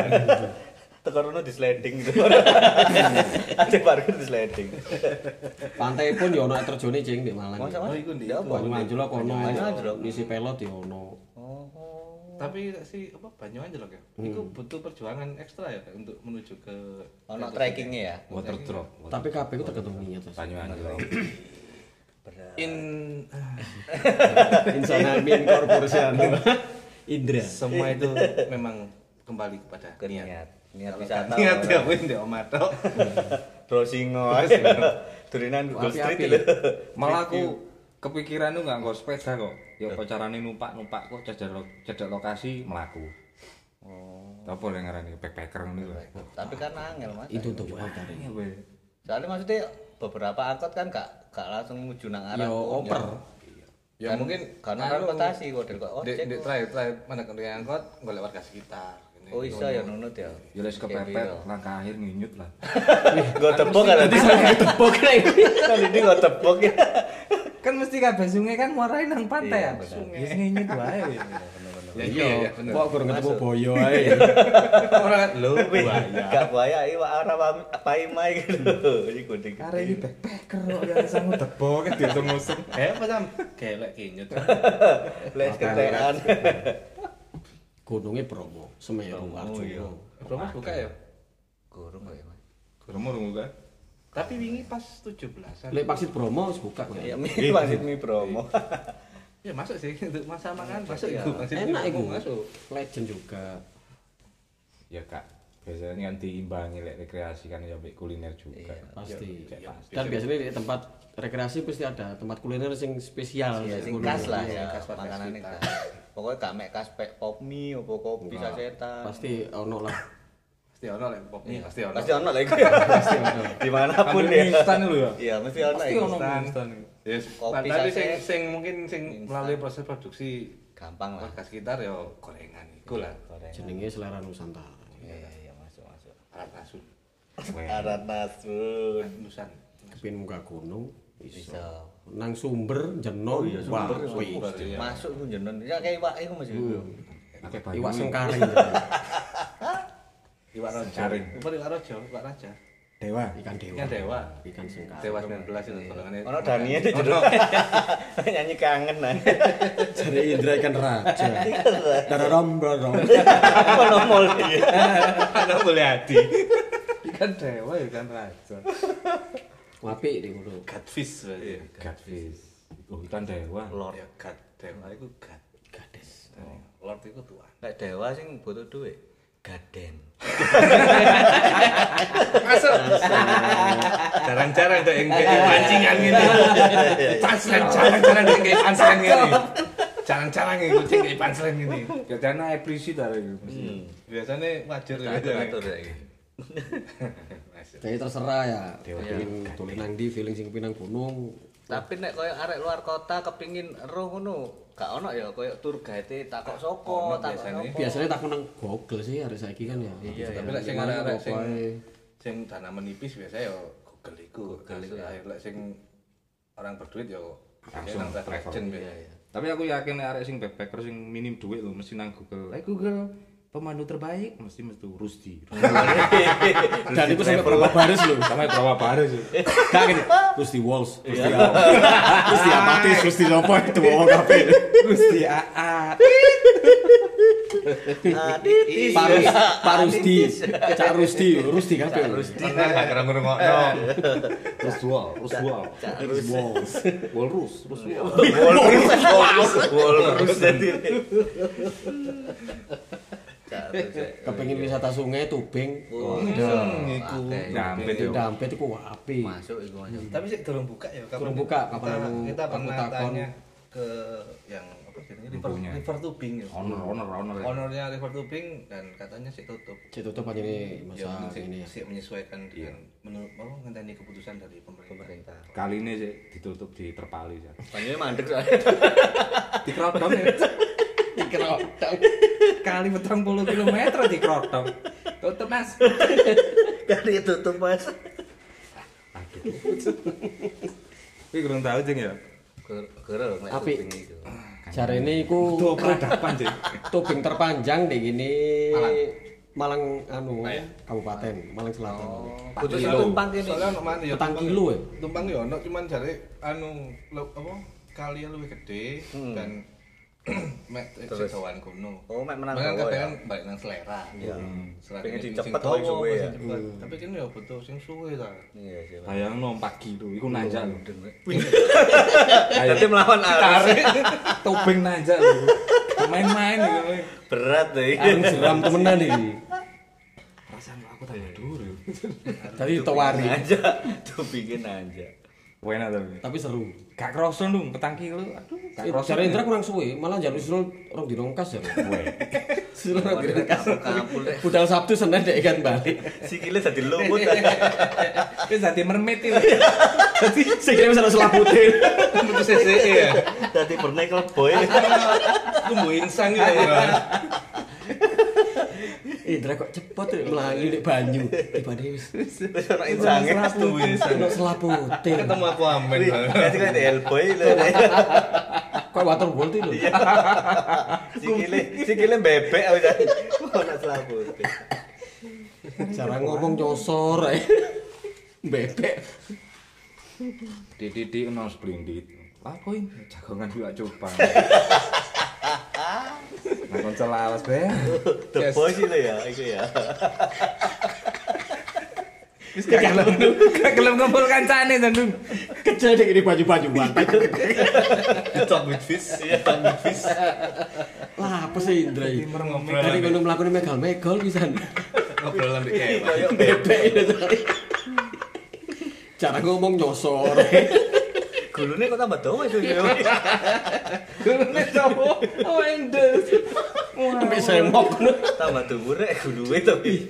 [SPEAKER 3] Tekorno di sliding gitu. Ada parkir di sliding.
[SPEAKER 5] Pantai pun yo ono air terjune cing di Malang.
[SPEAKER 3] Masa
[SPEAKER 1] Oh,
[SPEAKER 3] mas?
[SPEAKER 1] iku ndi?
[SPEAKER 3] Ya apa?
[SPEAKER 5] Banyuwanjlok kono.
[SPEAKER 3] Banyuwanjlok.
[SPEAKER 5] Ngisi pelot yo ono.
[SPEAKER 3] Oh.
[SPEAKER 1] Tapi si apa Banyuwanjlok ya? Iku butuh perjuangan ekstra ya untuk menuju ke
[SPEAKER 3] Ono trekkingnya ya.
[SPEAKER 4] Water drop.
[SPEAKER 5] Tapi kabeh ku tergantung niat. Mas.
[SPEAKER 4] Banyuwanjlok.
[SPEAKER 1] in
[SPEAKER 5] Insana Min Corporation. Indra.
[SPEAKER 1] semua itu memang kembali kepada
[SPEAKER 3] Ke
[SPEAKER 1] niat.
[SPEAKER 3] niat. Niat wisata.
[SPEAKER 1] Niat ya wis ndek omatok.
[SPEAKER 3] Browsingos. Durinan Google Street
[SPEAKER 5] Api-api.
[SPEAKER 3] lho.
[SPEAKER 4] Malah aku kepikiran tuh nggak nggo sepeda kok. Ya apa carane numpak-numpak kok cedek lo- cedek lokasi melaku. Oh. Apa yang ngarani backpacker ngono lho.
[SPEAKER 3] Tapi kan angel mas.
[SPEAKER 5] Itu untuk antar.
[SPEAKER 4] Iya, weh.
[SPEAKER 3] Soalnya maksudnya beberapa angkot kan gak gak langsung menuju nang arah.
[SPEAKER 5] Yo
[SPEAKER 3] punya.
[SPEAKER 5] oper.
[SPEAKER 1] Ya mungkin
[SPEAKER 3] karena
[SPEAKER 1] anu,
[SPEAKER 3] transportasi kok dari kok
[SPEAKER 1] Dek,
[SPEAKER 3] ojek.
[SPEAKER 1] dek terakhir, terakhir mana kena angkot, golek warga sekitar. Ini.
[SPEAKER 3] Oh iso ya nunut ya.
[SPEAKER 4] Ya wis kepepet langkah akhir nginyut lah.
[SPEAKER 3] Gue tebok kan nanti saya tebok Kali ini gue tebok ya.
[SPEAKER 4] kan mesti kabeh sungai kan muarai nang pantai
[SPEAKER 3] Iya,
[SPEAKER 4] ya.
[SPEAKER 3] bener.
[SPEAKER 4] Sungai. Wis nginyut wae.
[SPEAKER 1] Ya, iya, iya,
[SPEAKER 5] Iya,
[SPEAKER 1] bener.
[SPEAKER 5] kok kurang ketemu
[SPEAKER 1] Masuk.
[SPEAKER 5] boyo ae.
[SPEAKER 3] iya.
[SPEAKER 1] Orang kan lho
[SPEAKER 3] Tapi
[SPEAKER 1] buaya.
[SPEAKER 3] gak buaya iki wak ora pam- paimai gitu. Iki gede.
[SPEAKER 4] Kare iki backpacker kok ya sangu debo kan dia ngusung.
[SPEAKER 1] Eh, apa sam? Kelek kinyut.
[SPEAKER 3] Les ketean.
[SPEAKER 5] Gunungnya Bromo, Semeru, Arjuna.
[SPEAKER 1] Promo buka ya?
[SPEAKER 3] Gorong kok ya, Mas.
[SPEAKER 4] Rumur muka.
[SPEAKER 1] Tapi wingi pas 17-an.
[SPEAKER 5] Lek Paksit Bromo wis buka
[SPEAKER 3] Ya
[SPEAKER 5] kok.
[SPEAKER 3] mi masih mi promo.
[SPEAKER 1] Ya masuk sih untuk masa makan masuk
[SPEAKER 3] Iya.
[SPEAKER 1] iku. Masih
[SPEAKER 5] Enak iku.
[SPEAKER 1] masuk.
[SPEAKER 5] Legend juga.
[SPEAKER 4] Ya Kak, biasanya kan diimbangi lek rekreasi kan ya ambek kuliner juga. Iya,
[SPEAKER 5] pasti dan biasanya di tempat rekreasi pasti ada tempat kuliner sing spesial
[SPEAKER 3] Ya
[SPEAKER 5] kayak
[SPEAKER 3] sing
[SPEAKER 5] ngono.
[SPEAKER 3] khas lah
[SPEAKER 1] Iya,
[SPEAKER 3] ya,
[SPEAKER 1] khas khas
[SPEAKER 3] makanane
[SPEAKER 1] kita.
[SPEAKER 3] khas. Pokoknya gak mek khas pek pop mie opo kopi sasetan.
[SPEAKER 5] pasti ono lah
[SPEAKER 1] Pasti ono lek popnya pasti ono.
[SPEAKER 3] Iya. Pasti ono lah iku. Pasti ono. Dimanapun
[SPEAKER 4] Ambil
[SPEAKER 3] ya.
[SPEAKER 4] mie instan lho ya?
[SPEAKER 3] Iya, mesti ono
[SPEAKER 4] Pasti
[SPEAKER 3] iku.
[SPEAKER 4] ono
[SPEAKER 1] Instan.
[SPEAKER 4] instan.
[SPEAKER 1] Yes.
[SPEAKER 3] Kopi
[SPEAKER 1] Nah, Tapi sing
[SPEAKER 3] saset.
[SPEAKER 1] sing mungkin sing
[SPEAKER 3] Instan.
[SPEAKER 1] melalui proses produksi
[SPEAKER 3] Gampang lah.
[SPEAKER 1] warga sekitar ya gorengan iku lah.
[SPEAKER 3] Goreng.
[SPEAKER 5] jenenge selera nusantara
[SPEAKER 3] Iya, iya, iya, masuk masuk.
[SPEAKER 1] Alat nasun.
[SPEAKER 3] Arat nasun.
[SPEAKER 1] eh, Nusan.
[SPEAKER 5] tapi muka gunung iso
[SPEAKER 3] Bisa.
[SPEAKER 5] nang sumber jenon wah wih.
[SPEAKER 1] Baru ya.
[SPEAKER 3] Masuk ku jeneng. Ya kayak iwak iku Mas.
[SPEAKER 4] Pakai banyu.
[SPEAKER 5] iwak sengkaring
[SPEAKER 1] Iwak Rojo.
[SPEAKER 4] Saring.
[SPEAKER 1] Iwak Iwak Rojo, Iwak Raja.
[SPEAKER 4] Dewa.
[SPEAKER 5] ikan dewa
[SPEAKER 1] Ikan dewa.
[SPEAKER 5] ikan sengkaring
[SPEAKER 1] Dewa 19 itu golongannya.
[SPEAKER 3] Ono Dania di jero. Nyanyi kangen nah.
[SPEAKER 5] jadi Indra ikan raja dararom dararom
[SPEAKER 3] Apa nomor dia?
[SPEAKER 1] Ono boleh hati.
[SPEAKER 4] Ikan dewa ya, ikan raja.
[SPEAKER 5] wapi di gunung
[SPEAKER 1] Catfish berarti. ya.
[SPEAKER 4] Catfish. Oh, ikan dewa.
[SPEAKER 1] Lord ya God dewa itu God Oh.
[SPEAKER 5] gades
[SPEAKER 1] Lord itu Tuhan
[SPEAKER 3] Nek dewa sing butuh duit. Gaden.
[SPEAKER 1] masuk jarang-jarang tuh yang kayak pancingan ini punchline jarang-jarang yang kayak punchline ini jarang-jarang yang kucing kayak punchline ini
[SPEAKER 4] Katanya eksplisit ada itu.
[SPEAKER 1] biasanya wajar ya
[SPEAKER 3] Gatur iki.
[SPEAKER 1] Masuk.
[SPEAKER 5] jadi terserah ya
[SPEAKER 4] Dewa.
[SPEAKER 5] pingin tulis nang di feeling sing pinang gunung
[SPEAKER 3] Tapi nek koyo arek luar kota kepingin ero ngono, gak ono ya koyo tour guide takok sapa, takok
[SPEAKER 1] biasanya.
[SPEAKER 3] sapa.
[SPEAKER 5] biasanya takut nang Google sih hari saiki kan ya iya
[SPEAKER 1] tapi lek sing arek-arek sing sing tanaman nipis biasanya ya Google iku Google iku akhir lek sing orang berduit ya langsung
[SPEAKER 4] Langsung travel. iya.
[SPEAKER 1] traction biasanya
[SPEAKER 4] Tapi aku yakin arek sing backpacker sing minim duit lho mesti nang Google. Eh Google pemandu terbaik mesti mesti Rusdi.
[SPEAKER 5] dan itu sampai berapa baris loh
[SPEAKER 4] Sama berapa baris sih?
[SPEAKER 5] Gak gini, terus di walls, terus di apa? Terus di apatis, terus di apa itu mau kafe.
[SPEAKER 4] Rusdi AA.
[SPEAKER 3] Adit.
[SPEAKER 5] Parus, Parusdi, Cak Rusdi, Rusdi kafe. Rusdi,
[SPEAKER 1] pernah gak kira ngurungokno
[SPEAKER 4] Rusdual, Rusdual.
[SPEAKER 5] terus walls.
[SPEAKER 4] Walrus, Rusdual.
[SPEAKER 3] Wolrus, wolrus, wolrus dadi.
[SPEAKER 5] Kepengen wisata sungai Tubing,
[SPEAKER 1] iku
[SPEAKER 4] Dampet
[SPEAKER 5] di
[SPEAKER 4] yo.
[SPEAKER 5] Dampet itu api.
[SPEAKER 3] Masuk iku masuk.
[SPEAKER 1] tapi sih dorong buka ya
[SPEAKER 5] Durung buka, kapan
[SPEAKER 1] kita,
[SPEAKER 5] anu-
[SPEAKER 1] kita
[SPEAKER 5] aku
[SPEAKER 1] pernah
[SPEAKER 5] takon.
[SPEAKER 1] tanya ke yang apa jadinya river
[SPEAKER 4] Empunya.
[SPEAKER 1] river tubing ya
[SPEAKER 4] Honor, honor, honor.
[SPEAKER 1] ownernya river tubing dan katanya sih tutup
[SPEAKER 5] Cek tutup aja nih
[SPEAKER 1] ya
[SPEAKER 5] masa
[SPEAKER 1] mungkin sih
[SPEAKER 5] ini ya.
[SPEAKER 1] sih menyesuaikan dengan menurut mau ngenteni keputusan dari pemerintah
[SPEAKER 3] Pemerintah.
[SPEAKER 4] Kali ini sih ditutup di terpali ya.
[SPEAKER 3] Banyune mandek soalnya.
[SPEAKER 4] Di Krotong ya. Kali petang puluh kilometer di Krotong. Tutup mas.
[SPEAKER 3] Dari tutup Mas.
[SPEAKER 4] Aduh. Ah, Tapi kurang tahu jeng ya.
[SPEAKER 3] Gara lho nek
[SPEAKER 5] Api.
[SPEAKER 3] syuting iku.
[SPEAKER 5] Cara ini aku
[SPEAKER 4] Tuh peradaban jeng.
[SPEAKER 5] Tubing terpanjang di gini Malang anu kabupaten Oh. Malang Selatan.
[SPEAKER 3] Kudu
[SPEAKER 1] Terus
[SPEAKER 3] sing
[SPEAKER 1] aku-
[SPEAKER 3] tumpang kene.
[SPEAKER 1] Iya. soalnya ono mana ya
[SPEAKER 5] Petang
[SPEAKER 1] tumpang-
[SPEAKER 3] eh.
[SPEAKER 5] kilo ya?
[SPEAKER 1] tumpang ya ono cuman jare anu lo- apa kali lebih gede dan mek sedawan kuno
[SPEAKER 3] Hmm. Oh, mek menang
[SPEAKER 1] Bahkan
[SPEAKER 3] Jawa ya?
[SPEAKER 1] kadang balik nang selera
[SPEAKER 3] Iya.
[SPEAKER 1] selera
[SPEAKER 3] Pengen
[SPEAKER 1] sing
[SPEAKER 3] dicepet
[SPEAKER 1] dawa,
[SPEAKER 3] kok suwe
[SPEAKER 1] sing
[SPEAKER 3] ya.
[SPEAKER 1] cepet. tapi kan ya butuh sing suwe ta
[SPEAKER 3] Iya, iya.
[SPEAKER 4] Bayang nom pagi tuh, iku nanjak lho.
[SPEAKER 3] Jadi melawan arus
[SPEAKER 4] Tobing nanjak lho. Main-main ya. kowe.
[SPEAKER 3] berat eh. deh.
[SPEAKER 5] Anu seram temenan nih.
[SPEAKER 4] Perasaan aku tambah dulu.
[SPEAKER 5] Tadi tawari
[SPEAKER 3] aja, tuh bikin aja.
[SPEAKER 4] Wena tapi.
[SPEAKER 5] tapi seru.
[SPEAKER 4] Gak kroso lho, petang kilo. Aduh, gak
[SPEAKER 5] Eh,
[SPEAKER 4] kroso.
[SPEAKER 5] Cara Indra kurang suwe, malah jalur Isrul rong dinongkas ya. Isrul rong dinongkas.
[SPEAKER 3] Kampul deh.
[SPEAKER 5] Budal Sabtu Senin dek ikan balik.
[SPEAKER 3] Sikile jadi lumut.
[SPEAKER 4] Wis dadi mermaid iki.
[SPEAKER 5] Jadi sekiranya bisa selaputin.
[SPEAKER 1] butuh CC ya
[SPEAKER 3] Jadi bernaik boy.
[SPEAKER 1] tumbuh insang gitu ya
[SPEAKER 5] Indra kok cepet ya melangi dek banyu. Tiba dia wis
[SPEAKER 3] Terus ana insange.
[SPEAKER 1] tumbuh insang
[SPEAKER 5] kena selaputin.
[SPEAKER 1] ketemu aku amin
[SPEAKER 3] Jadi kan elboy lho.
[SPEAKER 5] Kayak waterboard itu lho.
[SPEAKER 3] Sikile, sikile bebek aku jadi. Ono selaput.
[SPEAKER 5] Jarang ngomong nyosor. eh. Bebek.
[SPEAKER 4] Didi enos blindit. Lapoin jagongan juga coba. Nah, kon celawas be.
[SPEAKER 3] Tebo sih lo ya, itu ya.
[SPEAKER 4] Wis gak gelem. Gak gelem ngumpul kancane to, Ndung.
[SPEAKER 5] Kecil deh ini baju-baju bantai.
[SPEAKER 1] Ditambut fis, iya tambut fis.
[SPEAKER 5] Lah, apa sih Indra ini? Kali
[SPEAKER 1] Ngobrolan
[SPEAKER 5] kalau melakukan megal-megal pisan.
[SPEAKER 1] ngobrolan di kewan.
[SPEAKER 3] Kayak
[SPEAKER 5] Bebek itu. sorry. Jarang ngomong nyosor.
[SPEAKER 3] gulune kok tambah dawa itu yo.
[SPEAKER 4] Gulune cowo. Oh, endes.
[SPEAKER 5] Sampai semok.
[SPEAKER 3] Tambah dhuwur rek gulune tapi.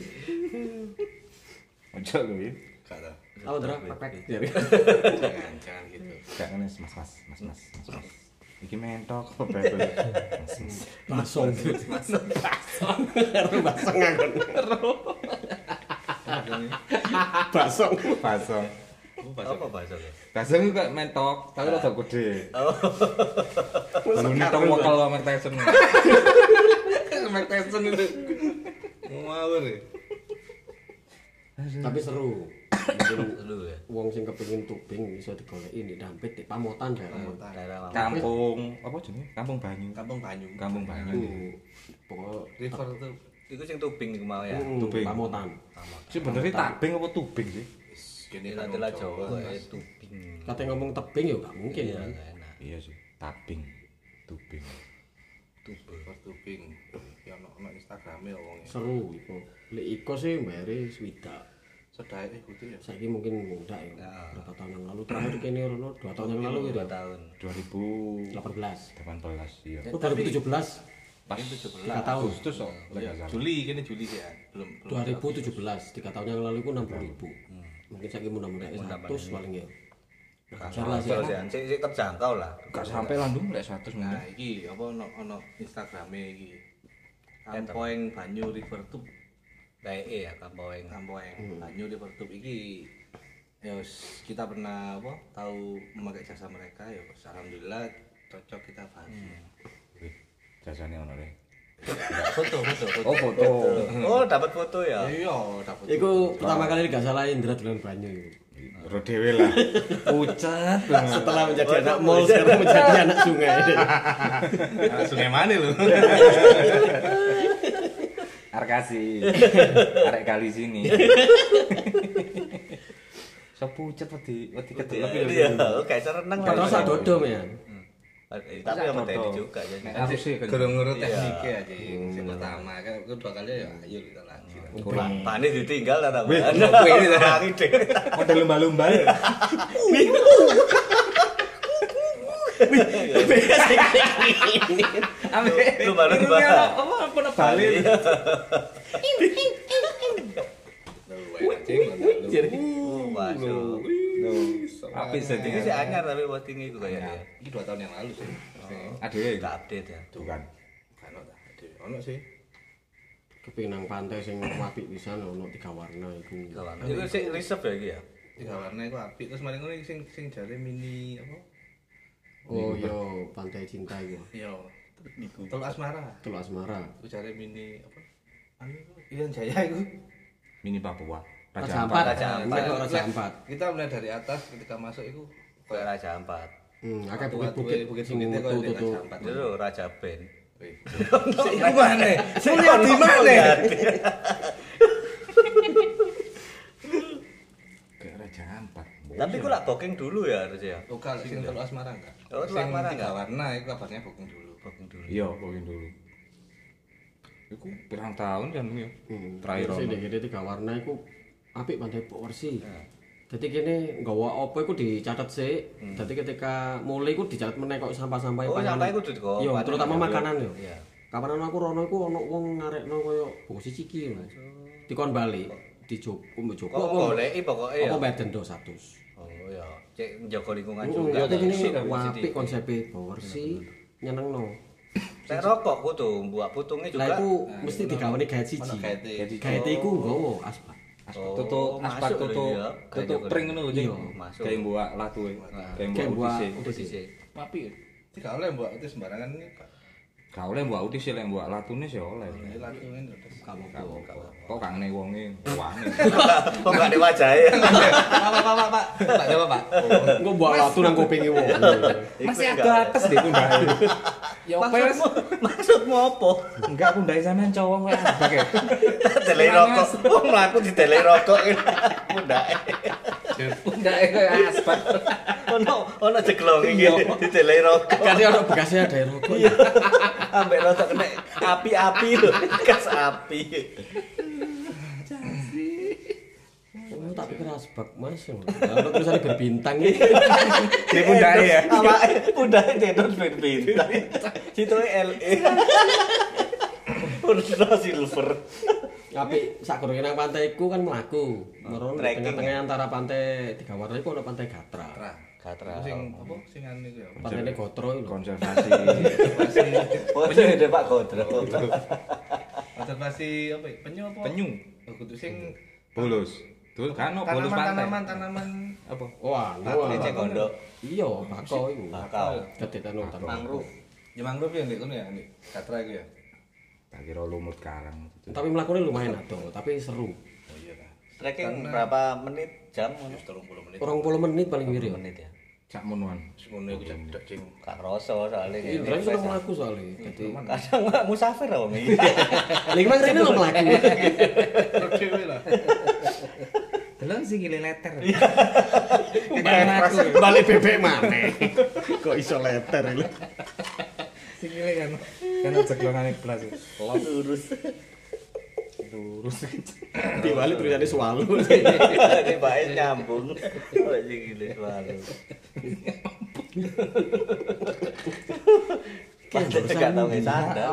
[SPEAKER 4] Ojo kuwi.
[SPEAKER 1] Gak tau.
[SPEAKER 5] Aku terang pepek.
[SPEAKER 1] Jangan, jangan gitu.
[SPEAKER 4] Gak ngene mas mas mas mas. mas, mas. Iki mentok kok bebel. Mas mas.
[SPEAKER 5] Basong. Basong. Basong ngangkon. Basong.
[SPEAKER 4] Pasong.
[SPEAKER 3] Apa bahasa lo?
[SPEAKER 4] Pasong itu kok mentok, tapi rada gede.
[SPEAKER 3] Oh.
[SPEAKER 4] Gulune tong wekel sama Tyson.
[SPEAKER 1] Sama Tyson itu. Ngawur ya.
[SPEAKER 5] Tapi seru.
[SPEAKER 3] Lu ya.
[SPEAKER 5] Wong sing kepengin tubing iso digoleki di dampit di pamotan daerah pamotan.
[SPEAKER 3] Daerah lama.
[SPEAKER 4] Kampung apa jenenge? Kampung Banyu.
[SPEAKER 1] Kampung Banyu.
[SPEAKER 4] Kampung Banyu.
[SPEAKER 5] Iya. Pokok
[SPEAKER 1] River tuh.
[SPEAKER 3] Iku sing tubing iku mau ya.
[SPEAKER 5] Mm,
[SPEAKER 4] Tubing.
[SPEAKER 5] pamotan.
[SPEAKER 4] Sebenarnya tabing apa tubing sih?
[SPEAKER 1] Gini
[SPEAKER 3] Ini
[SPEAKER 1] kan
[SPEAKER 3] adalah
[SPEAKER 1] Jawa.
[SPEAKER 3] Jawa ya tubing.
[SPEAKER 5] Kate ngomong tebing ya gak mungkin ya.
[SPEAKER 3] Nggak enak.
[SPEAKER 4] Iya sih, tabing. Tubing.
[SPEAKER 3] Tubing.
[SPEAKER 1] Pertubing. Ya ono-ono Instagramnya wongnya.
[SPEAKER 5] Seru iku. Lek iko sih mbare swidak.
[SPEAKER 1] Sedaya ikuti ya.
[SPEAKER 5] Saiki mungkin muda ya. Berapa tahun yang lalu terakhir kene rono 2 tahun yang lalu ya.
[SPEAKER 3] Dua tahun.
[SPEAKER 4] 2018
[SPEAKER 5] 18.
[SPEAKER 4] iya.
[SPEAKER 5] Oh 2017.
[SPEAKER 4] Pas
[SPEAKER 5] 3 tahun.
[SPEAKER 4] Agustus kok.
[SPEAKER 1] Ya, Juli kini Juli sih ya. Belum.
[SPEAKER 3] à?
[SPEAKER 1] belum.
[SPEAKER 5] 2017 tiga tahun yang lalu itu 60 ribu mungkin saya mudah-mudahan 100 paling ya wajar lah sih
[SPEAKER 3] Terus ya, sik sik terjangkau lah.
[SPEAKER 4] Gak sampai lah Ndung, lek 100
[SPEAKER 1] Nah,
[SPEAKER 4] mungkin.
[SPEAKER 1] iki apa ono ono Instagrame iki. Kampoeng Banyu River Tub.
[SPEAKER 3] Baik ya Hmm. kampung.
[SPEAKER 1] Kampoeng Banyu River Tub iki ya wis, kita pernah apa tahu memakai jasa mereka ya wis, alhamdulillah cocok kita bagi.
[SPEAKER 3] Hmm.
[SPEAKER 4] Wih, Jasane ono le.
[SPEAKER 3] Foto, foto, foto.
[SPEAKER 4] Oh, foto.
[SPEAKER 3] Oh, dapat foto ya.
[SPEAKER 1] Iya, dapat.
[SPEAKER 5] Iku pertama kali gak salah Indra dolan banyu itu.
[SPEAKER 4] Ro dhewe lah. Pucat. banget.
[SPEAKER 5] Setelah menjadi anak mall sekarang menjadi anak sungai.
[SPEAKER 1] Ah, Sungai mana lu?
[SPEAKER 4] Arkasi. Arek kali sini. Sepucat wedi wedi kedelep
[SPEAKER 3] Iya, kayak serenang lah.
[SPEAKER 5] Terus ada dodom ya.
[SPEAKER 3] Eh, Tapi yang tadi juga ya.
[SPEAKER 4] Nek
[SPEAKER 1] Nah,
[SPEAKER 4] arep sih kan.
[SPEAKER 1] Kurang ngurut tekniknya aja. Sing pertama kan kedua kali ya ayo kita lanjut.
[SPEAKER 4] Kurang.
[SPEAKER 3] Panis ditinggal lah tapi.
[SPEAKER 4] Wih,
[SPEAKER 3] Aku ini lagi deh.
[SPEAKER 4] Model lumba-lumba ya. Ambek
[SPEAKER 3] Lu baru
[SPEAKER 4] Ini
[SPEAKER 3] dibahas.
[SPEAKER 4] ono- Apa apa ono Bali.
[SPEAKER 1] Jadi
[SPEAKER 3] Masuk.
[SPEAKER 4] Apis dadi.
[SPEAKER 3] Ini sih
[SPEAKER 1] Iya.
[SPEAKER 3] anyar tapi posting itu kayak dia.
[SPEAKER 1] ini dua tahun yang lalu sih.
[SPEAKER 4] Adewe
[SPEAKER 3] Gak update ya.
[SPEAKER 4] Tuh kan.
[SPEAKER 1] Kan ono dah. Ono sih.
[SPEAKER 5] Keping nang pantai sing apik pisan ono tiga warna iku.
[SPEAKER 3] Gak update. Gitu Itu sih reserve ya iki ya.
[SPEAKER 1] tiga warna itu apik terus mari ngono sing sing jare mini apa
[SPEAKER 5] Oh yo pantai cinta iku.
[SPEAKER 1] iya teluk asmara
[SPEAKER 5] Teluk asmara.
[SPEAKER 1] itu jare mini apa anu itu, Irian Jaya itu
[SPEAKER 4] Mini Papua.
[SPEAKER 5] Raja
[SPEAKER 4] Ampat.
[SPEAKER 5] Ampat.
[SPEAKER 3] Raja Ampat.
[SPEAKER 5] Ini kok Raja
[SPEAKER 1] Lek,
[SPEAKER 5] Ampat.
[SPEAKER 1] kita mulai dari atas ketika masuk itu
[SPEAKER 3] Kayak Raja Ampat.
[SPEAKER 5] Hmm, akeh
[SPEAKER 1] Tua-tua
[SPEAKER 5] bukit-bukit
[SPEAKER 1] bukit
[SPEAKER 5] sing
[SPEAKER 1] sini kok di
[SPEAKER 5] metu-metu.
[SPEAKER 1] Raja Ampat
[SPEAKER 3] Itu Raja Ben.
[SPEAKER 1] Wih.
[SPEAKER 3] Iku mana? Kuliah
[SPEAKER 1] di mana?
[SPEAKER 3] ya?
[SPEAKER 4] Kayak Raja Ampat.
[SPEAKER 3] Tapi aku lah booking dulu ya harusnya.
[SPEAKER 1] Oh, kalau sing teluk asmara enggak
[SPEAKER 3] Oh, Teluk
[SPEAKER 1] Sing
[SPEAKER 3] Asmara
[SPEAKER 1] tiga
[SPEAKER 3] enggak?
[SPEAKER 1] warna itu kabarnya booking dulu
[SPEAKER 3] Booking dulu.
[SPEAKER 4] Iya, pokoknya dulu. Iku pirang tahun kan ya.
[SPEAKER 5] Hmm,
[SPEAKER 4] Terakhir
[SPEAKER 5] terus
[SPEAKER 4] ono.
[SPEAKER 5] ini gini tiga warna iku apik pandai porsi. Jadi kene nggawa apa iku dicatet sih. Jadi ketika mulai iku dicatet meneh kok sampah-sampah
[SPEAKER 3] Hmm. Oh,
[SPEAKER 5] panganan.
[SPEAKER 3] sampah iku kudu digawa.
[SPEAKER 5] Yo, terutama makanan yo.
[SPEAKER 3] Iya.
[SPEAKER 5] Kapan aku rono iku ono wong ngarekno koyo bungsi ciki Mas. Dikon bali di Joko mbok Joko
[SPEAKER 3] Kok goleki pokoke ya.
[SPEAKER 5] Apa Oh, badan do 100.
[SPEAKER 3] Oh ya, cek njogo lingkungan
[SPEAKER 5] Heeh,
[SPEAKER 3] juga.
[SPEAKER 5] jadi
[SPEAKER 3] Sik,
[SPEAKER 5] kene
[SPEAKER 3] sik,
[SPEAKER 5] iya, apik
[SPEAKER 3] sik.
[SPEAKER 5] konsepe porsi nyenengno.
[SPEAKER 3] Saya rokok ku tuh, buat
[SPEAKER 5] Lah
[SPEAKER 3] putungnya Eh, juga.
[SPEAKER 5] iku mesti digawani gait siji.
[SPEAKER 1] gaete.
[SPEAKER 5] Gait iku nggawa asbak.
[SPEAKER 4] Aspak tutup,
[SPEAKER 3] Oh,
[SPEAKER 4] aspak
[SPEAKER 3] masuk
[SPEAKER 4] tutup,
[SPEAKER 3] lho, iya.
[SPEAKER 4] tutup
[SPEAKER 3] Kayak Iya,
[SPEAKER 4] pring ngono lho, Cing.
[SPEAKER 3] masuk.
[SPEAKER 4] eh.
[SPEAKER 3] Nah.
[SPEAKER 4] Kayak mbok latuwe. Kayak
[SPEAKER 5] Kayak
[SPEAKER 4] mbok
[SPEAKER 5] buah
[SPEAKER 4] utise.
[SPEAKER 5] udah siji.
[SPEAKER 3] Sik.
[SPEAKER 4] Papi. ya?
[SPEAKER 1] Iki gak oleh ya, mbok utis sembarangan iki, Pak.
[SPEAKER 4] Gak oleh mbok utis sih, lek mbok latune sih oleh.
[SPEAKER 3] Iya,
[SPEAKER 1] Ini latihan terus kamu kamu kamu.
[SPEAKER 4] Kok kang ne wonge wani.
[SPEAKER 3] Kok gak ada wajahnya?
[SPEAKER 1] Pak, Pak, Pak, Pak, Pak. Pak, coba, Pak.
[SPEAKER 5] Engko mbok latu nang kupinge wong.
[SPEAKER 4] Masih
[SPEAKER 3] Iku
[SPEAKER 4] ada
[SPEAKER 3] gak
[SPEAKER 4] atas deh kundae. Ya opes.
[SPEAKER 3] Maksudmu, maksudmu apa?
[SPEAKER 4] Enggak kundae sampean cowok kok sebagai.
[SPEAKER 3] Delay rokok. Wong mlaku di delay rokok. Mundake.
[SPEAKER 4] Kundae koyo asbak.
[SPEAKER 3] Ono ono jeglong iki di delay rokok.
[SPEAKER 5] Kan ono bekasnya ada rokok.
[SPEAKER 3] Ambek rokok kena api-api lho, gas api.
[SPEAKER 5] Oh, tak pikir asbak Mas. Ono tulisane berbintang iki.
[SPEAKER 4] Di kundae ya.
[SPEAKER 3] Awake mundake dendon bintang. Situe LE. Urna E. silver.
[SPEAKER 5] Apik sak gorong nang pantai iku kan mlaku. Meron
[SPEAKER 3] Trekking,
[SPEAKER 5] tengah-tengah antara pantai Tiga Warna iku ono pantai Gatra.
[SPEAKER 1] Tra.
[SPEAKER 3] Gatra.
[SPEAKER 1] Sing apa? Sing anu iku ya.
[SPEAKER 5] Pantai ini Gotro iku. lho.
[SPEAKER 4] Konservasi.
[SPEAKER 1] Masih
[SPEAKER 3] Waduh, ada Pak Kodro.
[SPEAKER 1] konservasi apa? ya? Penyu apa?
[SPEAKER 4] Penyu.
[SPEAKER 1] Oh, Kudu sing
[SPEAKER 4] Bulus. Dul kan no bulus pantai.
[SPEAKER 1] tanaman-tanaman tanaman apa?
[SPEAKER 5] Wah,
[SPEAKER 1] Bakau
[SPEAKER 5] wah.
[SPEAKER 1] cek
[SPEAKER 3] Kondok.
[SPEAKER 5] Iya, bakau iku.
[SPEAKER 3] Bakau.
[SPEAKER 5] Kedetan hutan.
[SPEAKER 3] Ah. Mangrove.
[SPEAKER 1] Ya mangrove ya ndek kono ya, ndek katra iku ya.
[SPEAKER 4] Tak kira lumut karang.
[SPEAKER 5] Tapi melakukannya lumayan adoh, tapi seru.
[SPEAKER 1] Oh iya kan.
[SPEAKER 3] Trekking berapa menit? Jam? Mas?
[SPEAKER 1] 30 menit.
[SPEAKER 5] Orang puluh menit paling wirid.
[SPEAKER 3] menit ya.
[SPEAKER 4] Cak menuan.
[SPEAKER 1] Ngono iku cedek sing
[SPEAKER 3] Hmm. Gak kerasa soalnya. kayak
[SPEAKER 5] Indra
[SPEAKER 3] refresh.
[SPEAKER 5] sudah melaku soalnya. Jadi,
[SPEAKER 3] Kadang nggak musafir om ini.
[SPEAKER 5] lagi mana ini lo melaku?
[SPEAKER 1] dhewe lah.
[SPEAKER 4] Delon sing letter.
[SPEAKER 5] Balik bebek mana? Kok iso letter ini?
[SPEAKER 4] Sing kan. Kan ceklongane blas.
[SPEAKER 3] Lurus.
[SPEAKER 4] Lurus.
[SPEAKER 5] Di balik tulisannya sualu.
[SPEAKER 3] Ini baik nyambung. Kok sih gini selalu. Pantes gak tau nggak sadar.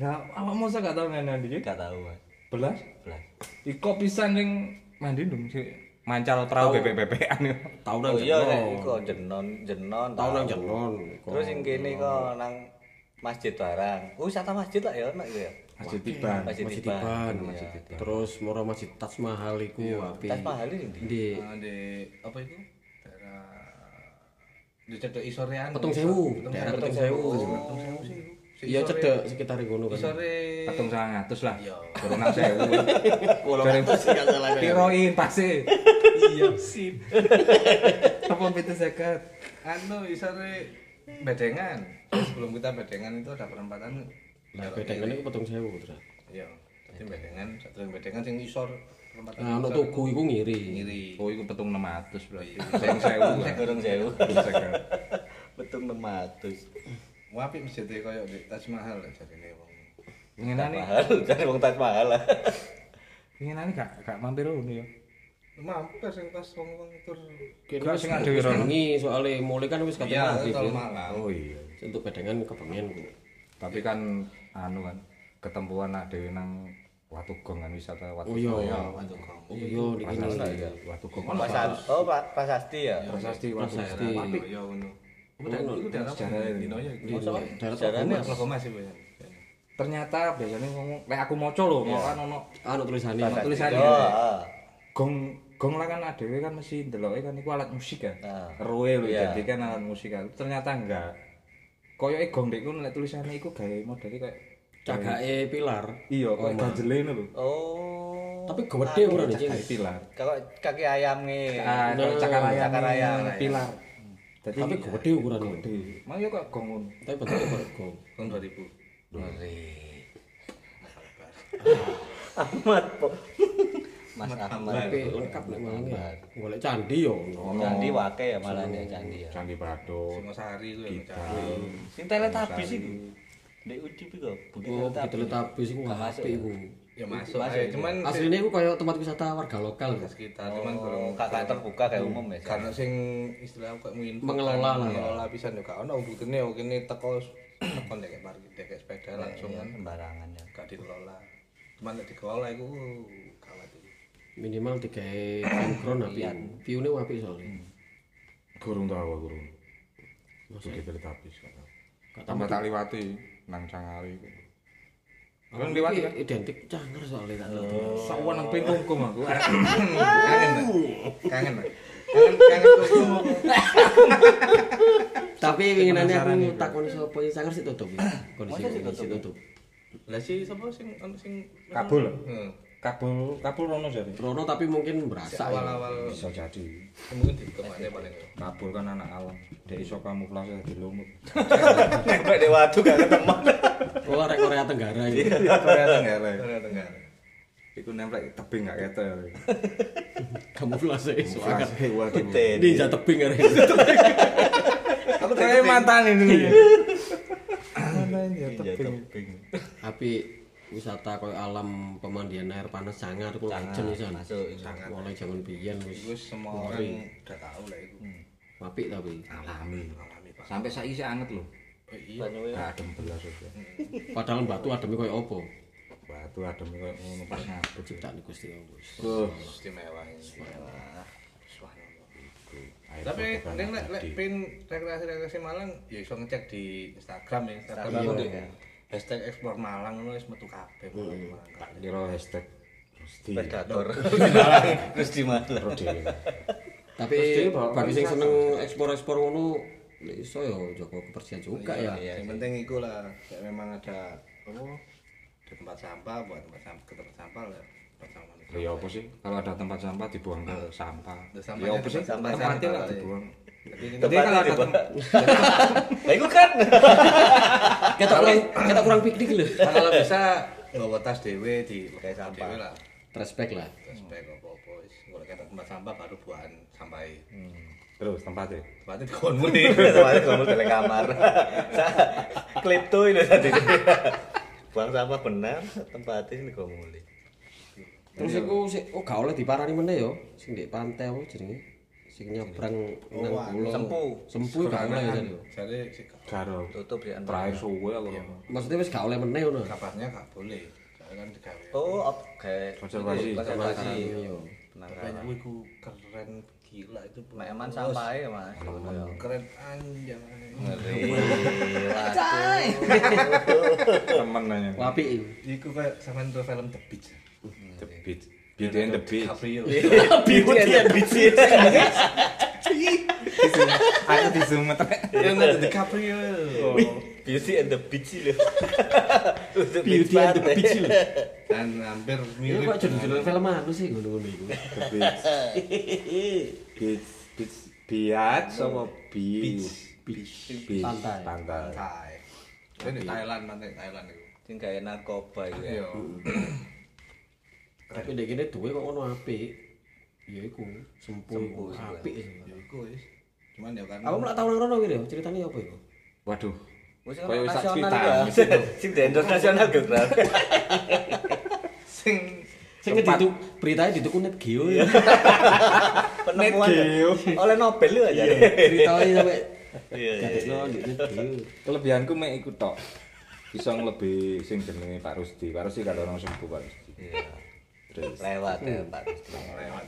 [SPEAKER 4] Nah, awak masa gak tau ngene iki?
[SPEAKER 3] Gak tau mas.
[SPEAKER 4] Belas.
[SPEAKER 3] Belas.
[SPEAKER 4] Iko pisan ning mandi dong sih. Mancal perahu bebek-bebekan ya.
[SPEAKER 5] Tahunan
[SPEAKER 3] Oh iya nek
[SPEAKER 5] jenon.
[SPEAKER 3] iku jenon jenon.
[SPEAKER 5] Tahunan
[SPEAKER 3] tau.
[SPEAKER 5] jenon.
[SPEAKER 3] Terus yang kini kok nang masjid barang. Oh, Wisata masjid lah ya nek itu ya.
[SPEAKER 4] Masjid tiban.
[SPEAKER 3] Masjid
[SPEAKER 5] Masjid
[SPEAKER 3] Iban.
[SPEAKER 5] Iban, Masjid Iban. Terus moro Masjid Taj Mahal iku api.
[SPEAKER 3] Tas mahal ini.
[SPEAKER 5] Di
[SPEAKER 1] Nah, di apa itu? Daerah di cedek isorean.
[SPEAKER 5] Petung Sewu, daerah Petung Sewu.
[SPEAKER 1] Petung Sewu sih. iku. Si
[SPEAKER 5] Iya
[SPEAKER 1] isore-
[SPEAKER 5] cedek sekitar ngono kan.
[SPEAKER 1] Isore
[SPEAKER 4] Petung sangat atus lah.
[SPEAKER 1] Iya.
[SPEAKER 4] Kurang enam sewu.
[SPEAKER 5] Wolong atus, nggak salah.
[SPEAKER 4] Tiroin pasti.
[SPEAKER 1] iya sip.
[SPEAKER 4] Apa pintu seket?
[SPEAKER 1] Anu isore bedengan. Sebelum kita bedengan itu ada perempatan.
[SPEAKER 5] Nah, bedanya iku Petung Sewu terus.
[SPEAKER 1] Iya. Jadi bedengan, satu yang bedengan sing isor perempatan.
[SPEAKER 5] Nah, ono
[SPEAKER 1] isor.
[SPEAKER 5] tugu iku ngiri.
[SPEAKER 1] Ngiri.
[SPEAKER 4] Oh, iku petung 600 berarti. Sing sewu. lah.
[SPEAKER 3] Gorong sewu.
[SPEAKER 4] Petung seket.
[SPEAKER 3] Betul 600.
[SPEAKER 1] Wapi masjid e koyo di Taj Mahal jadi ini wong.
[SPEAKER 3] Taj
[SPEAKER 4] Ngenani,
[SPEAKER 3] mahal. Cari wong tas mahal lah.
[SPEAKER 4] ngenani gak gak mampir ngono ya.
[SPEAKER 1] Mampir sing pas wong-wong tur.
[SPEAKER 5] Kira
[SPEAKER 4] sing ada wiro.
[SPEAKER 5] Ini soalnya mulai kan wis kata
[SPEAKER 1] Iya,
[SPEAKER 5] maghrib.
[SPEAKER 1] tol
[SPEAKER 5] ya.
[SPEAKER 1] malam.
[SPEAKER 4] Oh iya.
[SPEAKER 5] Untuk bedengan kepengen ku.
[SPEAKER 4] Tapi kan anu kan ketempuan nak dhewe nang Watugong kan wisata
[SPEAKER 5] Oh
[SPEAKER 4] Watugong.
[SPEAKER 5] iya.
[SPEAKER 1] Waduh, kamu.
[SPEAKER 5] Oh iya niki ngene.
[SPEAKER 4] Watugong.
[SPEAKER 3] Pas oh Pak Pak Sasti ya.
[SPEAKER 4] Prasasti
[SPEAKER 5] Prasasti.
[SPEAKER 4] Watugong.
[SPEAKER 1] Wapi ya ngono. Apa daerah itu daerah apa?
[SPEAKER 4] Sejarah ini.
[SPEAKER 1] Dino ya.
[SPEAKER 5] Di daerah
[SPEAKER 1] Ini
[SPEAKER 5] Tokomas.
[SPEAKER 1] apa Mas ibu ya?
[SPEAKER 4] Ternyata biasanya ngomong lek aku maca lho, mau kan ono
[SPEAKER 5] Anu tulisannya.
[SPEAKER 4] Ono tulisannya.
[SPEAKER 3] Yo, ah.
[SPEAKER 4] gong gong lah kan adewe kan mesti ndeloke kan iku alat musik kan.
[SPEAKER 3] Ah.
[SPEAKER 4] Roe lho
[SPEAKER 3] Iya.
[SPEAKER 4] jadi kan alat musik kan. Ternyata enggak. Koyoke gong dekku nek tulisane iku gawe modele kayak
[SPEAKER 5] Cagake pilar.
[SPEAKER 4] iya kayak ganjele ngono lho.
[SPEAKER 3] Oh.
[SPEAKER 5] Tapi gede ora nih
[SPEAKER 4] Kayak pilar.
[SPEAKER 3] Kalau kaki ayam nih.
[SPEAKER 4] Ah, kalau cakar ayam,
[SPEAKER 3] cakar ayam.
[SPEAKER 4] pilar. Jadi
[SPEAKER 5] Tapi gede ukurannya.
[SPEAKER 4] gede. Mau ya kok gong ngono.
[SPEAKER 5] Tapi bentuknya bergo.
[SPEAKER 1] Tahun 2000.
[SPEAKER 4] Hmm.
[SPEAKER 3] Ahmad po. Mas Ahmad.
[SPEAKER 5] Tapi lengkap nek malam ya. Golek candi
[SPEAKER 4] Oh,
[SPEAKER 5] yo ono.
[SPEAKER 3] Candi wake ya malah nih candi ya.
[SPEAKER 1] Oh.
[SPEAKER 4] Candi Prado.
[SPEAKER 1] Singosari itu ya. Cak.
[SPEAKER 3] Sing teletabis iku. Ndek Udi iku lho, bukit
[SPEAKER 5] Oh,
[SPEAKER 3] teletabis.
[SPEAKER 5] diteletapis iku
[SPEAKER 3] Gak masuk
[SPEAKER 5] apik iku.
[SPEAKER 1] Ya masuk aja. Cuman
[SPEAKER 5] Aslinya iku kayak tempat wisata warga lokal kan.
[SPEAKER 1] sekitar cuman kurang
[SPEAKER 3] Oh, kakak terbuka kayak umum ya. Cak.
[SPEAKER 1] karena sing istilah kok mungkin
[SPEAKER 5] Mengelola lah.
[SPEAKER 1] mengelola pisan yo gak ono buktinya yo kene teko teko ndek parkir ndek sepeda langsung
[SPEAKER 3] Iya,
[SPEAKER 1] kan
[SPEAKER 3] sembarangan ya.
[SPEAKER 1] gak dikelola. Cuman nek dikelola iku khawatir.
[SPEAKER 5] Minimal tiga sinkron apik. View-ne apik soalnya.
[SPEAKER 4] Hmm. Gurung tau aku gurung. Bukit Teletabis kok. Tambah tak liwati nang Cangari iku. Kan Oh. liwati
[SPEAKER 5] Iki identik cangker soalnya tak tahu.
[SPEAKER 4] sawan nang pengkungkum aku.
[SPEAKER 1] Kangen. Pak. Kangen. Pak. Kangen kangen tuh
[SPEAKER 5] Tapi winginane
[SPEAKER 6] penasaran
[SPEAKER 5] aku
[SPEAKER 6] iku.
[SPEAKER 5] takoni sapa sing sangar sik tutup. ya. Kondisi
[SPEAKER 3] Masa sik
[SPEAKER 5] kondisi
[SPEAKER 3] tutup?
[SPEAKER 5] tutup.
[SPEAKER 1] Lah si sapa sing ono sing
[SPEAKER 4] Kabul.
[SPEAKER 1] Heeh.
[SPEAKER 4] Kabul kabul rono jadi.
[SPEAKER 5] Rono tapi mungkin berasa ya.
[SPEAKER 1] Awal-awal
[SPEAKER 4] Bisa jadi.
[SPEAKER 1] mungkin di kemane paling.
[SPEAKER 4] Kabul kan anak alam. Dia iso kamuflase di lumut.
[SPEAKER 3] Nek di watu gak ketemu.
[SPEAKER 5] Oh, arek Korea Tenggara iki.
[SPEAKER 4] Korea Tenggara.
[SPEAKER 1] Tengah tengah.
[SPEAKER 4] Iku nemplek tebing gak ketok ya.
[SPEAKER 5] Kamuflase suara.
[SPEAKER 4] Kamuflase waduh.
[SPEAKER 5] Ninja tebing arek.
[SPEAKER 4] Aku terima mantan ini. Mantan ya
[SPEAKER 3] Ninja
[SPEAKER 4] tebing.
[SPEAKER 3] topeng.
[SPEAKER 5] Tapi wisata koyo alam pemandian air panas sangar kuwi ajen isan.
[SPEAKER 1] masuk, sangar.
[SPEAKER 5] Mulai jangan biyen
[SPEAKER 1] Iku
[SPEAKER 5] wis
[SPEAKER 1] semua orang udah tahu lah iku.
[SPEAKER 5] apik tapi.
[SPEAKER 4] Alami.
[SPEAKER 1] Alami, Pak.
[SPEAKER 4] Sampai saiki sih anget lho.
[SPEAKER 1] Oh, Iya.
[SPEAKER 3] Banyuwe.
[SPEAKER 4] Nah, adem belas itu.
[SPEAKER 5] Padahal batu ademe koyo opo?
[SPEAKER 4] Batu adem koyo ngono pas ngabut.
[SPEAKER 5] Ciptaan Gusti Allah. wis.
[SPEAKER 4] Tuh.
[SPEAKER 1] Istimewa ini. Subhanallah.
[SPEAKER 4] air
[SPEAKER 1] Tapi
[SPEAKER 4] kotoran
[SPEAKER 1] neng lek lek
[SPEAKER 4] abadi.
[SPEAKER 1] pin rekreasi-rekreasi Malang ya iso ngecek di Instagram ya. Instagram
[SPEAKER 3] Instagram,
[SPEAKER 1] aku di
[SPEAKER 3] iya.
[SPEAKER 1] hashtag explore Malang ngono wis metu kabeh Malang.
[SPEAKER 4] tak kira hashtag Gusti.
[SPEAKER 3] Predator. Terus di mana?
[SPEAKER 4] Terus dhewe.
[SPEAKER 5] Tapi bagi sing seneng ekspor-ekspor ngono iso ya Joko kepercayaan juga ya.
[SPEAKER 1] Yang penting iku lah kayak memang ada apa di tempat sampah buat tempat sampah ke tempat sampah lah. Tempat sampah.
[SPEAKER 4] Lho, Ya apa sih? Kalau ada tempat sampah dibuang ke sampah.
[SPEAKER 1] Terus
[SPEAKER 4] Ya
[SPEAKER 1] sampahnya
[SPEAKER 4] apa sih?
[SPEAKER 1] tempat sampah,
[SPEAKER 4] Tempatnya
[SPEAKER 1] sampah,
[SPEAKER 4] lah
[SPEAKER 1] iya.
[SPEAKER 4] dibuang.
[SPEAKER 1] Tapi ini
[SPEAKER 4] Jadi kalau ada tem-
[SPEAKER 3] Lah iku kan.
[SPEAKER 5] Kita kurang kita kurang piknik lho.
[SPEAKER 1] kalau bisa nggawa tas dhewe di kayak sampah dhewe lah.
[SPEAKER 5] Respect lah.
[SPEAKER 1] Terus baik apa-apa wis kalau kita tempat sampah baru buahan sampai
[SPEAKER 4] Terus tempatnya.
[SPEAKER 1] tempatnya di kon muni.
[SPEAKER 3] Kemarin kamu di kamar. Klipto ini tadi. Buang sampah benar tempatnya ini kamu mulai.
[SPEAKER 5] Terus
[SPEAKER 3] Iya.
[SPEAKER 5] iku sik oh gak oleh diparani meneh yo, sing di pantai apa jenenge? Sing nyebrang nang pulau.
[SPEAKER 3] Oh, anu, Sempu.
[SPEAKER 5] Sempu gak oleh jan yo.
[SPEAKER 1] Jadi sih,
[SPEAKER 4] Karo
[SPEAKER 3] Tutup ya.
[SPEAKER 4] terakhir suwe lho.
[SPEAKER 5] Maksudnya wis gak oleh meneh ngono.
[SPEAKER 1] kabarnya gak boleh. Soalnya kan digawe.
[SPEAKER 3] Oh, op, kayak
[SPEAKER 4] Konservasi.
[SPEAKER 3] Konservasi.
[SPEAKER 5] Yo.
[SPEAKER 1] Makanya wih, ku keren gila itu
[SPEAKER 3] Mak Eman sampai ya, Mas.
[SPEAKER 1] keren anjang.
[SPEAKER 3] Ngeri. Iya. Waduh.
[SPEAKER 4] Temen nanya.
[SPEAKER 5] Apik iku.
[SPEAKER 1] Iku kayak sama nonton film The Beach. Iya.
[SPEAKER 4] The beat. Beauty and the beat.
[SPEAKER 1] Gabriel.
[SPEAKER 3] Iya,
[SPEAKER 5] Iya,
[SPEAKER 3] Beauty and the Beast.
[SPEAKER 4] Aku disumet.
[SPEAKER 1] Yang ada di Gabriel.
[SPEAKER 3] Beauty and the Beast lho.
[SPEAKER 5] Beauty and the Beast lho.
[SPEAKER 1] Dan hampir
[SPEAKER 5] Ini
[SPEAKER 1] mirip.
[SPEAKER 5] Iya, kok judul-judul film anu sih ngono-ngono iku.
[SPEAKER 4] The beat. Beat. Beat. Biat sama beat. Beach. Beach.
[SPEAKER 5] Pantai.
[SPEAKER 4] Pantai.
[SPEAKER 1] Thai. Ini di Thailand, pantai Thailand itu.
[SPEAKER 3] Sing kayak narkoba gitu ya.
[SPEAKER 1] Iya.
[SPEAKER 5] Tapi dek kene duwe kok ngono apik. Ya iku, sempu. iku. Apik. sih.
[SPEAKER 1] Ya, Iku wis. Cuman ya karena
[SPEAKER 5] Aku malah tau nang rono iki lho, ceritane apa iku?
[SPEAKER 4] Waduh.
[SPEAKER 3] Wis
[SPEAKER 4] Kayak sak
[SPEAKER 3] nasional
[SPEAKER 4] cerita.
[SPEAKER 3] ya. Sing di endorse nasional geografi.
[SPEAKER 1] sing
[SPEAKER 5] Sing ditu beritanya dituku net geo ya.
[SPEAKER 3] Iya. Penemuan ya.
[SPEAKER 4] Geo.
[SPEAKER 3] oleh Nobel lho ya. aja.
[SPEAKER 5] Ceritanya sampe
[SPEAKER 3] Iya, iya,
[SPEAKER 5] Gadekno di net geo.
[SPEAKER 4] Kelebihanku mek iku tok. Bisa nglebih sing jenenge Pak Rusdi. Pak Rusdi kalau orang sembuh Pak Rusdi. Terus
[SPEAKER 3] Lewat ya, Pak.
[SPEAKER 1] lewat.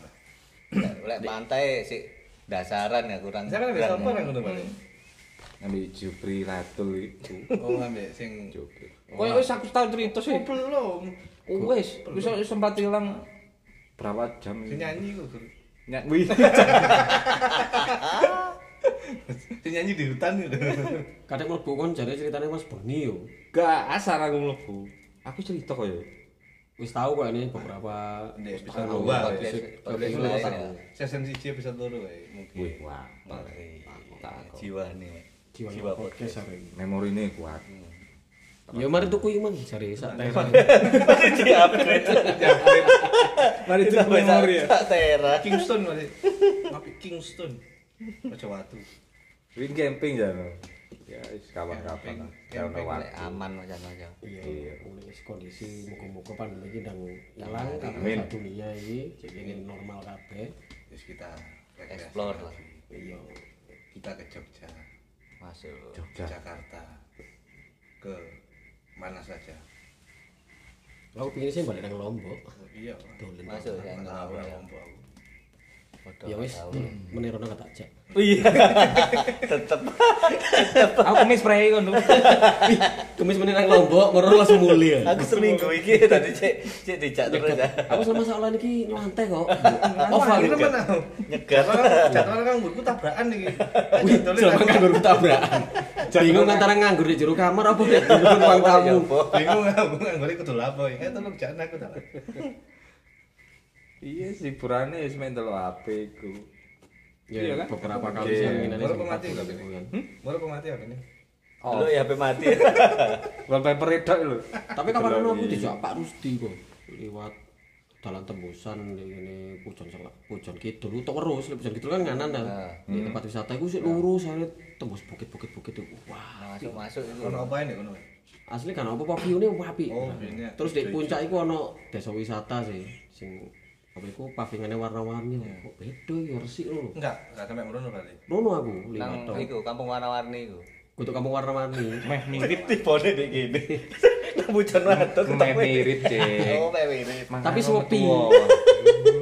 [SPEAKER 3] Lek pantai sik dasaran ya kurang.
[SPEAKER 1] Saya kan ada
[SPEAKER 3] kurang
[SPEAKER 1] siapa
[SPEAKER 3] ya.
[SPEAKER 1] yang ngono Pak?
[SPEAKER 4] ngambil Jupri Latul iku.
[SPEAKER 1] Hmm. Oh, ngambil sing
[SPEAKER 4] Jupri.
[SPEAKER 6] Koyo wis aku tau cerita sih.
[SPEAKER 1] belum.
[SPEAKER 6] Wis, wis sempat hilang
[SPEAKER 4] Berapa jam
[SPEAKER 1] Sing
[SPEAKER 4] ini?
[SPEAKER 1] nyanyi iku. Gur.
[SPEAKER 4] Nyak wih.
[SPEAKER 1] Sing nyanyi di hutan itu.
[SPEAKER 5] Kadek mlebu kon jare ceritane Mas Boni yo.
[SPEAKER 4] Gak asar aku mlebu. Aku cerita koyo.
[SPEAKER 5] Wis tau kok ini beberapa
[SPEAKER 1] Nih, bisa
[SPEAKER 5] setahun
[SPEAKER 1] berubah,
[SPEAKER 5] lalu.
[SPEAKER 1] ya.
[SPEAKER 5] Sik-
[SPEAKER 3] Boleh
[SPEAKER 5] sik-
[SPEAKER 3] mulai,
[SPEAKER 5] sik-
[SPEAKER 3] ya.
[SPEAKER 1] Season 1 episode 2 wae mungkin.
[SPEAKER 4] Wih, wah.
[SPEAKER 3] Jiwa nih.
[SPEAKER 5] Jiwa
[SPEAKER 3] Jiwa
[SPEAKER 5] podcast hari ini.
[SPEAKER 4] Memorine kuat.
[SPEAKER 5] Ya mari tuku iman jare sak tera.
[SPEAKER 4] Mari itu memori ya.
[SPEAKER 3] Tak tera.
[SPEAKER 1] Kingston wae. Tapi Kingston. Ojo watu.
[SPEAKER 4] Wing camping ya. no. Ya wis kawan-kawan. lah. Ya ono
[SPEAKER 3] Lek
[SPEAKER 4] waktu.
[SPEAKER 3] aman macam-macam.
[SPEAKER 5] Iya, mulai kondisi muka-muka pandemi iki ndang ilang
[SPEAKER 4] Amin.
[SPEAKER 5] kabeh dunia iki jadi ini normal kabeh.
[SPEAKER 1] Terus Ya, kita rekreasi
[SPEAKER 3] Explore lah.
[SPEAKER 1] lagi.
[SPEAKER 5] Iya.
[SPEAKER 1] Kita ke Jogja,
[SPEAKER 3] Masuk.
[SPEAKER 1] ke Jakarta, ke mana saja.
[SPEAKER 5] Lah, Aku pingin sih balik nang Lombok.
[SPEAKER 1] Oh, Iya.
[SPEAKER 5] Dolen.
[SPEAKER 3] Masuk ya.
[SPEAKER 1] Nggak tahu lah, mampu aku.
[SPEAKER 5] Ya wis, menirono gak tak cek.
[SPEAKER 3] Iya. Tetep.
[SPEAKER 4] Aku kemis spray ngono.
[SPEAKER 5] Ih, Kemis meni nang Lombok, moro langsung muli ya.
[SPEAKER 3] Aku seminggu iki tadi cek cek dijak terus ya.
[SPEAKER 5] Aku selama soalan iki nyantai kok.
[SPEAKER 1] Oh,
[SPEAKER 5] Oval.
[SPEAKER 1] akhirnya mana?
[SPEAKER 3] Nyegar.
[SPEAKER 1] Jadwal nganggur ku tabrakan iki.
[SPEAKER 5] Wih,
[SPEAKER 1] Jadwalnya
[SPEAKER 5] selama
[SPEAKER 1] tabrakan.
[SPEAKER 5] nganggur tabrakan. Bingung antara nganggur di jero kamar apa di depan
[SPEAKER 3] Ya,
[SPEAKER 5] tamu.
[SPEAKER 3] Po.
[SPEAKER 1] Bingung aku nganggur iki kudu lapo iki. Eh tolong jangan aku tak.
[SPEAKER 4] Iya sih burane wis main delok HP ku. Iya
[SPEAKER 5] Ya
[SPEAKER 4] kan?
[SPEAKER 5] beberapa kali sih yang ini
[SPEAKER 1] Baru
[SPEAKER 5] sempat
[SPEAKER 1] pemati kok ini. Baru pemati apa ini?
[SPEAKER 3] Lu ya HP mati.
[SPEAKER 4] Wallpaper edok lho.
[SPEAKER 5] Tapi kapan ono aku dijak Pak Rusdi kok liwat dalan tembusan di ngene Pujon Selak, Pujon Kidul utawa terus Lek Pujon Kidul kan nganan ta. Di tempat wisata iku sik lurus saya tembus bukit-bukit-bukit itu. Wah,
[SPEAKER 3] Masuk masuk itu.
[SPEAKER 1] Ono apa ini kono?
[SPEAKER 5] asli kan apa pavione wapi.
[SPEAKER 1] Oh, bene.
[SPEAKER 5] Terus di puncak iku ono desa wisata sih sing apa iku pavingane warna-warni kok beda ya resik lho.
[SPEAKER 1] Enggak, enggak sampai merono balik.
[SPEAKER 5] Nono aku liwat
[SPEAKER 3] Nang
[SPEAKER 5] tok.
[SPEAKER 3] iku kampung warna-warni iku.
[SPEAKER 5] Kutuk kampung warna-warni.
[SPEAKER 4] Meh mirip,
[SPEAKER 3] Tipone dek gini. Nang bujan wadon
[SPEAKER 4] meh mirip, Cek.
[SPEAKER 3] Oh, meh mirip.
[SPEAKER 5] Tapi sepi.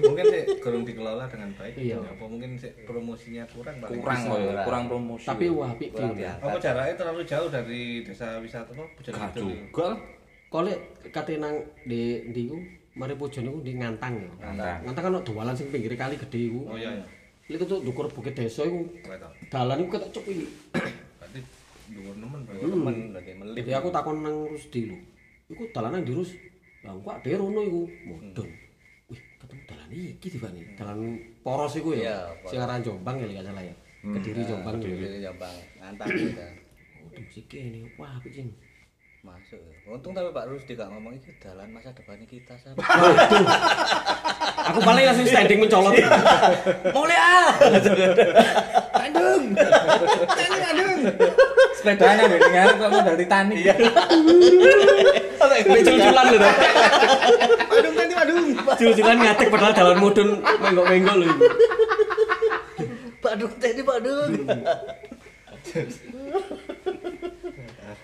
[SPEAKER 1] Mungkin sih kurang dikelola dengan baik.
[SPEAKER 5] Iya.
[SPEAKER 1] Apa mungkin sih promosinya kurang balik.
[SPEAKER 4] Kurang kok ya, kurang promosi.
[SPEAKER 5] Tapi wapi ki.
[SPEAKER 3] ya.
[SPEAKER 1] Apa jaraknya terlalu jauh dari desa wisata kok? Pujon
[SPEAKER 4] Gak
[SPEAKER 1] Kidul.
[SPEAKER 4] juga. lah.
[SPEAKER 5] Kole kate nang di ndi ku mari pujon niku di ngantang ya.
[SPEAKER 4] Ngantang.
[SPEAKER 5] Ngantang kan ono dalan sing pinggire kali gede iku.
[SPEAKER 1] Oh iya. iya.
[SPEAKER 5] Lek tuh dukur bukit desa iku
[SPEAKER 1] Gak tau.
[SPEAKER 5] dalan iku ketok cepi.
[SPEAKER 1] Berarti dhuwur nemen Pak.
[SPEAKER 3] Temen lagi melip.
[SPEAKER 5] Jadi aku takon nang Rusdi lho. Iku dalan nang ndi Rus? Lah kok ade rono iku. Modon. Wih, ketemu dalan iki tibane. Dalan poros iku
[SPEAKER 3] Iya,
[SPEAKER 5] ya.
[SPEAKER 3] Hmm.
[SPEAKER 5] Sing aran Jombang ya lek gak salah ya. Kediri Jombang. ya.
[SPEAKER 3] Jadi jambang ngantar kita.
[SPEAKER 5] Oh, tembus iki ini. Wah, piye ini?
[SPEAKER 3] Masuk. Untung tapi Pak Rusdi gak ngomong iki dalan masa depannya kita sama.
[SPEAKER 5] Aku paling langsung standing mencolot.
[SPEAKER 3] Iya. Mulai ah.
[SPEAKER 4] Sepedanya wis ngarep kok mau dari tani.
[SPEAKER 1] Iya,
[SPEAKER 5] Mek cul-culan lho. Wadung tadi wadung. Cul-culan gitu. ngatek padahal dalan mudun menggok-menggok lho. iku.
[SPEAKER 3] Pak Duk tadi Pak Duk.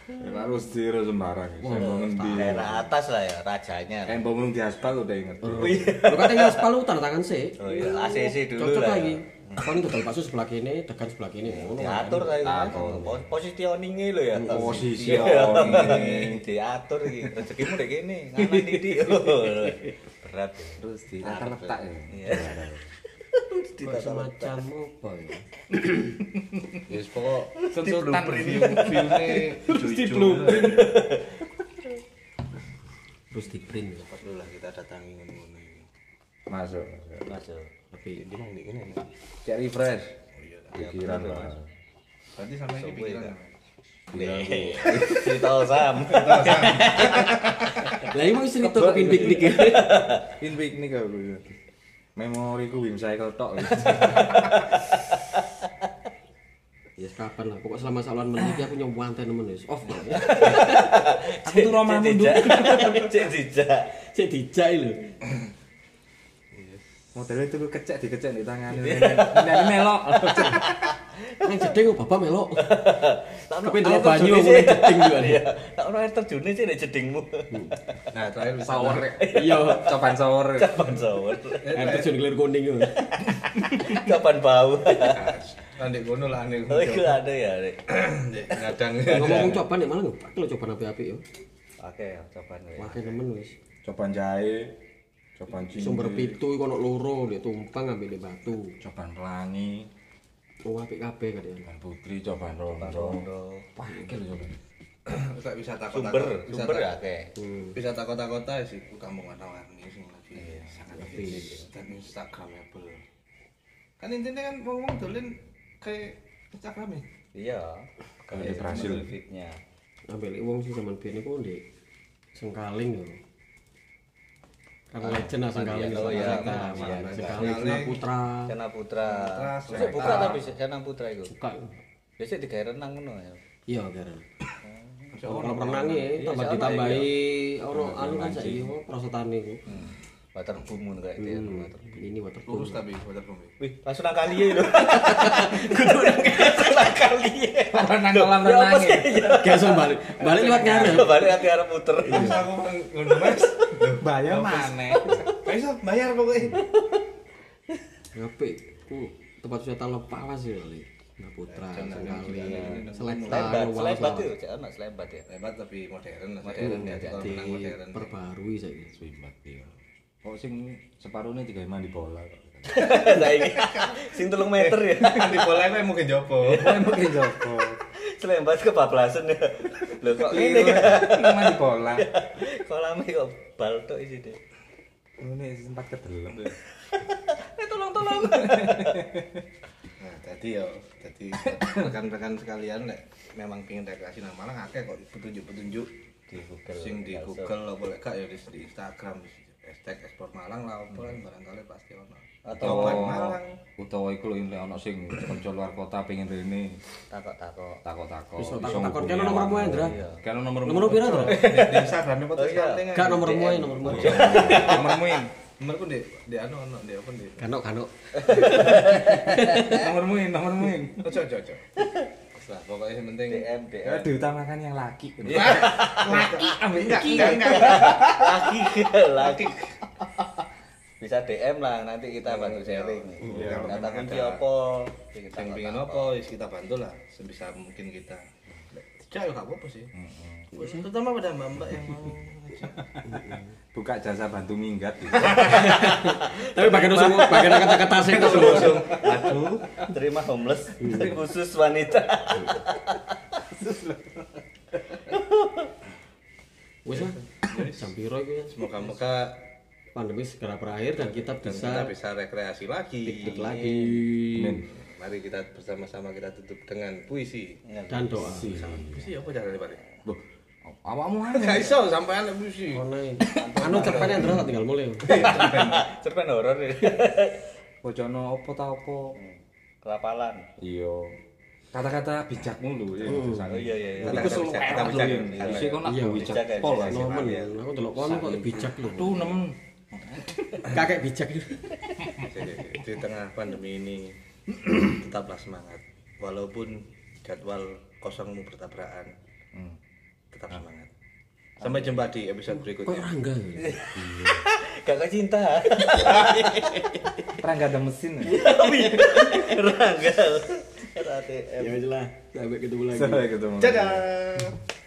[SPEAKER 4] Ya harus diru sembarang. Saya mau ngendi.
[SPEAKER 3] Daerah atas lah ya rajanya.
[SPEAKER 4] Eh, mbok mung di aspal udah inget.
[SPEAKER 5] Oh, Lu kata nggak sepal lu tanda tangan sih.
[SPEAKER 3] iya. Oh iya, ACC dulu
[SPEAKER 5] Cocok
[SPEAKER 3] lah.
[SPEAKER 5] lagi. Kon dodol bakso sebelah kene, tekan sebelah kene. Oh, Ngono.
[SPEAKER 3] Diatur tadi kan. Pos- Positioningnya lo ya.
[SPEAKER 4] Positioning.
[SPEAKER 3] Diatur iki rezekimu dek kene, nganan titik. Berat. ya.
[SPEAKER 4] Terus di tata letak ya.
[SPEAKER 3] Iya.
[SPEAKER 5] Kok semacam apa ya?
[SPEAKER 1] Ya wis, pokok
[SPEAKER 4] Tuntutan
[SPEAKER 1] view-nya hijau-hijau.
[SPEAKER 5] Terus di print ya.
[SPEAKER 3] Perlu lah kita datangi ngono-ngono. iki.
[SPEAKER 4] Masuk.
[SPEAKER 3] Masuk.
[SPEAKER 5] Tapi
[SPEAKER 3] Ini nang ndek kene.
[SPEAKER 4] Cek refresh. Pikiran lah.
[SPEAKER 1] Berarti sampai ini pikiran.
[SPEAKER 3] Nih, Cerita Osam.
[SPEAKER 5] lah emang cerita ke pindik dik ya.
[SPEAKER 4] In piknik aku. ya. Memori ku wim cycle tok.
[SPEAKER 5] Ya kapan lah. Pokok selama saluran menit aku nyoba anten temen wis off lah. ya.
[SPEAKER 4] Aku tuh Roma
[SPEAKER 3] Cek
[SPEAKER 4] mundur.
[SPEAKER 3] dijak. Cek dijak.
[SPEAKER 5] Cek dijai lho.
[SPEAKER 4] Modelnya tuh kecek dikecek di tangan. Dan melok.
[SPEAKER 5] Nang jeding kok bapak melok.
[SPEAKER 3] Tak ono
[SPEAKER 5] Tapi
[SPEAKER 3] air
[SPEAKER 5] delok banyu
[SPEAKER 3] terjunnya,
[SPEAKER 5] mulai
[SPEAKER 3] Cek.
[SPEAKER 5] jeding juga.
[SPEAKER 3] Iya. Tak ono air terjunnya sih nek jedingmu.
[SPEAKER 4] Hmm.
[SPEAKER 1] Nah, terakhir bisa.
[SPEAKER 4] Sour. Iya, copan sour.
[SPEAKER 3] Kapan sawet?
[SPEAKER 5] Air terjun kelir kuning ya. lho.
[SPEAKER 3] Kapan bau?
[SPEAKER 1] Nanti Nah, kono lah nih.
[SPEAKER 3] Oh itu ada ya. Dek.
[SPEAKER 1] Ndek, Ngadang.
[SPEAKER 5] Ngomong-ngomong coba nih malah ngepak lo coba api-api ya.
[SPEAKER 3] Oke, coba nih.
[SPEAKER 5] Wakai nemen wis.
[SPEAKER 4] Copan jahe. Copan cincin.
[SPEAKER 5] Sumber pitu iku ono loro, dia tumpang ambil di batu.
[SPEAKER 4] Copan pelangi.
[SPEAKER 5] Oh, apik kabeh kadang.
[SPEAKER 4] Copan putri. Copan rondo. Wah, ini lho copan.
[SPEAKER 1] Bisa wisata kota.
[SPEAKER 3] Sumber,
[SPEAKER 1] wisata-
[SPEAKER 3] sumber ya oke.
[SPEAKER 5] Hmm,
[SPEAKER 1] Wisata kota-kota ya sih ku kampung warna-warni sing lagi sangat hits dan instagramable. Kan intinya kan ngomong dolen kayak Instagram ya.
[SPEAKER 3] Iya.
[SPEAKER 4] Kalau di Brasil.
[SPEAKER 3] Fitnya.
[SPEAKER 5] ambil wong sih zaman biyen iku ndek Sengkaling ya. Karena legend lah Sengkaling
[SPEAKER 3] Oh, Ah, iya,
[SPEAKER 5] Sengkaling,
[SPEAKER 3] iya,
[SPEAKER 5] Sengkaling,
[SPEAKER 3] iya.
[SPEAKER 5] Sengkaling Sena Putra.
[SPEAKER 3] Cana Putra.
[SPEAKER 1] Putra,
[SPEAKER 3] Saya buka tapi Cana Putra itu.
[SPEAKER 5] Buka.
[SPEAKER 3] Biasanya tiga renang ngono ya.
[SPEAKER 5] Iya, Karen.
[SPEAKER 3] iya.
[SPEAKER 5] Kalau perenang ya, tambah
[SPEAKER 3] sama,
[SPEAKER 5] ditambahi
[SPEAKER 3] Iya.
[SPEAKER 5] ono anu kan saiki apa prosotane iku.
[SPEAKER 3] Hmm. Waterboom ngono kayak itu ya. waterboom.
[SPEAKER 5] Hmm, Ini waterboom.
[SPEAKER 1] Lurus tapi waterboom.
[SPEAKER 3] Wih, langsung nang kali ya lho. Kudu nang langsung nang kali ya.
[SPEAKER 4] Orang nang kolam
[SPEAKER 3] Ya apa
[SPEAKER 4] renang.
[SPEAKER 3] sih?
[SPEAKER 5] Gak usah balik. Balik lewat ngarep.
[SPEAKER 3] Balik ke arah puter.
[SPEAKER 1] Terus aku nang ngono Mas.
[SPEAKER 4] Bayar mana?
[SPEAKER 1] Kayak bayar pokoknya.
[SPEAKER 5] Ngapik. Ku tempat wisata Lepawas ya kali. Nah, Putra, Sekali, Selatan,
[SPEAKER 3] Selebat, selebat
[SPEAKER 5] Wonosobo.
[SPEAKER 3] itu, jangan mas selebat ya.
[SPEAKER 1] Lebat tapi modern lah. Modern ya. Kalau
[SPEAKER 5] Jadi
[SPEAKER 1] menang modern.
[SPEAKER 5] perbarui saya.
[SPEAKER 4] Swimat ya. Kok sing separuhnya tiga mandi bola.
[SPEAKER 3] Saiki sing telung meter ya.
[SPEAKER 1] Di bola kan mungkin jopo.
[SPEAKER 4] Mungkin Joko.
[SPEAKER 3] Selebat kebablasan ya. Lho kok
[SPEAKER 4] Ini
[SPEAKER 3] ngene ya?
[SPEAKER 4] mandi bola.
[SPEAKER 3] Kolame kok bal tok isi deh.
[SPEAKER 4] Ini sempat kedelem.
[SPEAKER 3] Eh tolong tolong.
[SPEAKER 1] Nah, tadi ya, tadi rekan-rekan sekalian lek memang pingin rekreasi nang Malang akeh kok petunjuk-petunjuk
[SPEAKER 3] Di Google.
[SPEAKER 1] sing di Google lah boleh kak ya di, di Instagram hashtag ekspor Malang lah apa kan barangkali pasti ono.
[SPEAKER 3] Atau
[SPEAKER 4] Utawa
[SPEAKER 1] Jawaban Malang.
[SPEAKER 4] utawa iku lho nek ana sing kanca luar kota pengen rene
[SPEAKER 3] takok-takok.
[SPEAKER 4] takok-takok.
[SPEAKER 5] Wis takon kene nomormu Endra.
[SPEAKER 4] Kan nomormu.
[SPEAKER 5] Nomor pira to?
[SPEAKER 1] Di Instagram apa
[SPEAKER 3] Oh,
[SPEAKER 1] tuh
[SPEAKER 3] iya.
[SPEAKER 1] starting
[SPEAKER 5] Gak nomormu ae nomormu.
[SPEAKER 4] Nomormu. ini.
[SPEAKER 1] Nomorku di di anu ono di apa di.
[SPEAKER 5] Kanok kanok.
[SPEAKER 4] Nomormu, ini, nomormu. ini.
[SPEAKER 1] Ojo ojo ojo. Lah pokoknya yang penting
[SPEAKER 3] DM
[SPEAKER 4] Ya
[SPEAKER 3] DM.
[SPEAKER 4] diutamakan yang laki.
[SPEAKER 1] laki ambil enggak enggak enggak.
[SPEAKER 3] Laki laki. Bisa DM lah nanti kita bantu sharing.
[SPEAKER 1] Iya.
[SPEAKER 3] Kata kunci apa? Kita
[SPEAKER 1] Yang pingin Iya, apa wis kita bantu lah sebisa mungkin kita. Cak ya gak apa-apa sih. Terutama pada mbak-mbak yang mau
[SPEAKER 4] Buka jasa bantu minggat.
[SPEAKER 5] Tapi bagian usung, bagian kata-kata sing usung.
[SPEAKER 3] Langsung, Aduh, terima homeless khusus wanita.
[SPEAKER 5] Wis lah. Jam piro iku ya?
[SPEAKER 1] Moga-moga
[SPEAKER 5] Pandemi segera berakhir dan
[SPEAKER 1] dan
[SPEAKER 5] kita
[SPEAKER 1] kita
[SPEAKER 5] bisa
[SPEAKER 1] bisa rekreasi lagi.
[SPEAKER 5] piknik lagi
[SPEAKER 1] Mari kita bersama-sama kita tutup dengan puisi.
[SPEAKER 5] dan doa.
[SPEAKER 1] Puisi apa caranya Pak?
[SPEAKER 4] Loh, awakmu aja.
[SPEAKER 1] Enggak iso sampai anak puisi.
[SPEAKER 5] Online. Anu cerpen Endra tak tinggal mulai.
[SPEAKER 3] Cerpen horor ya.
[SPEAKER 4] Bojono apa ta apa.
[SPEAKER 3] Kelapalan.
[SPEAKER 4] Iya. Kata-kata bijakmu lho ya.
[SPEAKER 3] Oh iya iya iya.
[SPEAKER 1] Iku selalu kita bisa
[SPEAKER 4] Harusnya kau nak
[SPEAKER 5] Iya,
[SPEAKER 4] bijak
[SPEAKER 3] bijak ya,
[SPEAKER 4] pol
[SPEAKER 3] bijak.
[SPEAKER 4] aja.
[SPEAKER 5] Nomen ya. Aku delok kono kok bijak lho.
[SPEAKER 4] Tuh nemen.
[SPEAKER 5] Kakek bijak.
[SPEAKER 1] di tengah pandemi ini tetaplah semangat. Walaupun jadwal kosongmu bertabrakan, tetap semangat. Sampai jumpa di episode
[SPEAKER 5] Kok
[SPEAKER 1] berikutnya.
[SPEAKER 5] Rangga ya?
[SPEAKER 3] Kakak cinta.
[SPEAKER 4] Rangga ada mesin. ya.
[SPEAKER 3] Ranggal. RATM.
[SPEAKER 5] Ya wis lah. Sampai ketemu lagi.
[SPEAKER 4] Sampai ketemu.
[SPEAKER 1] Dadah.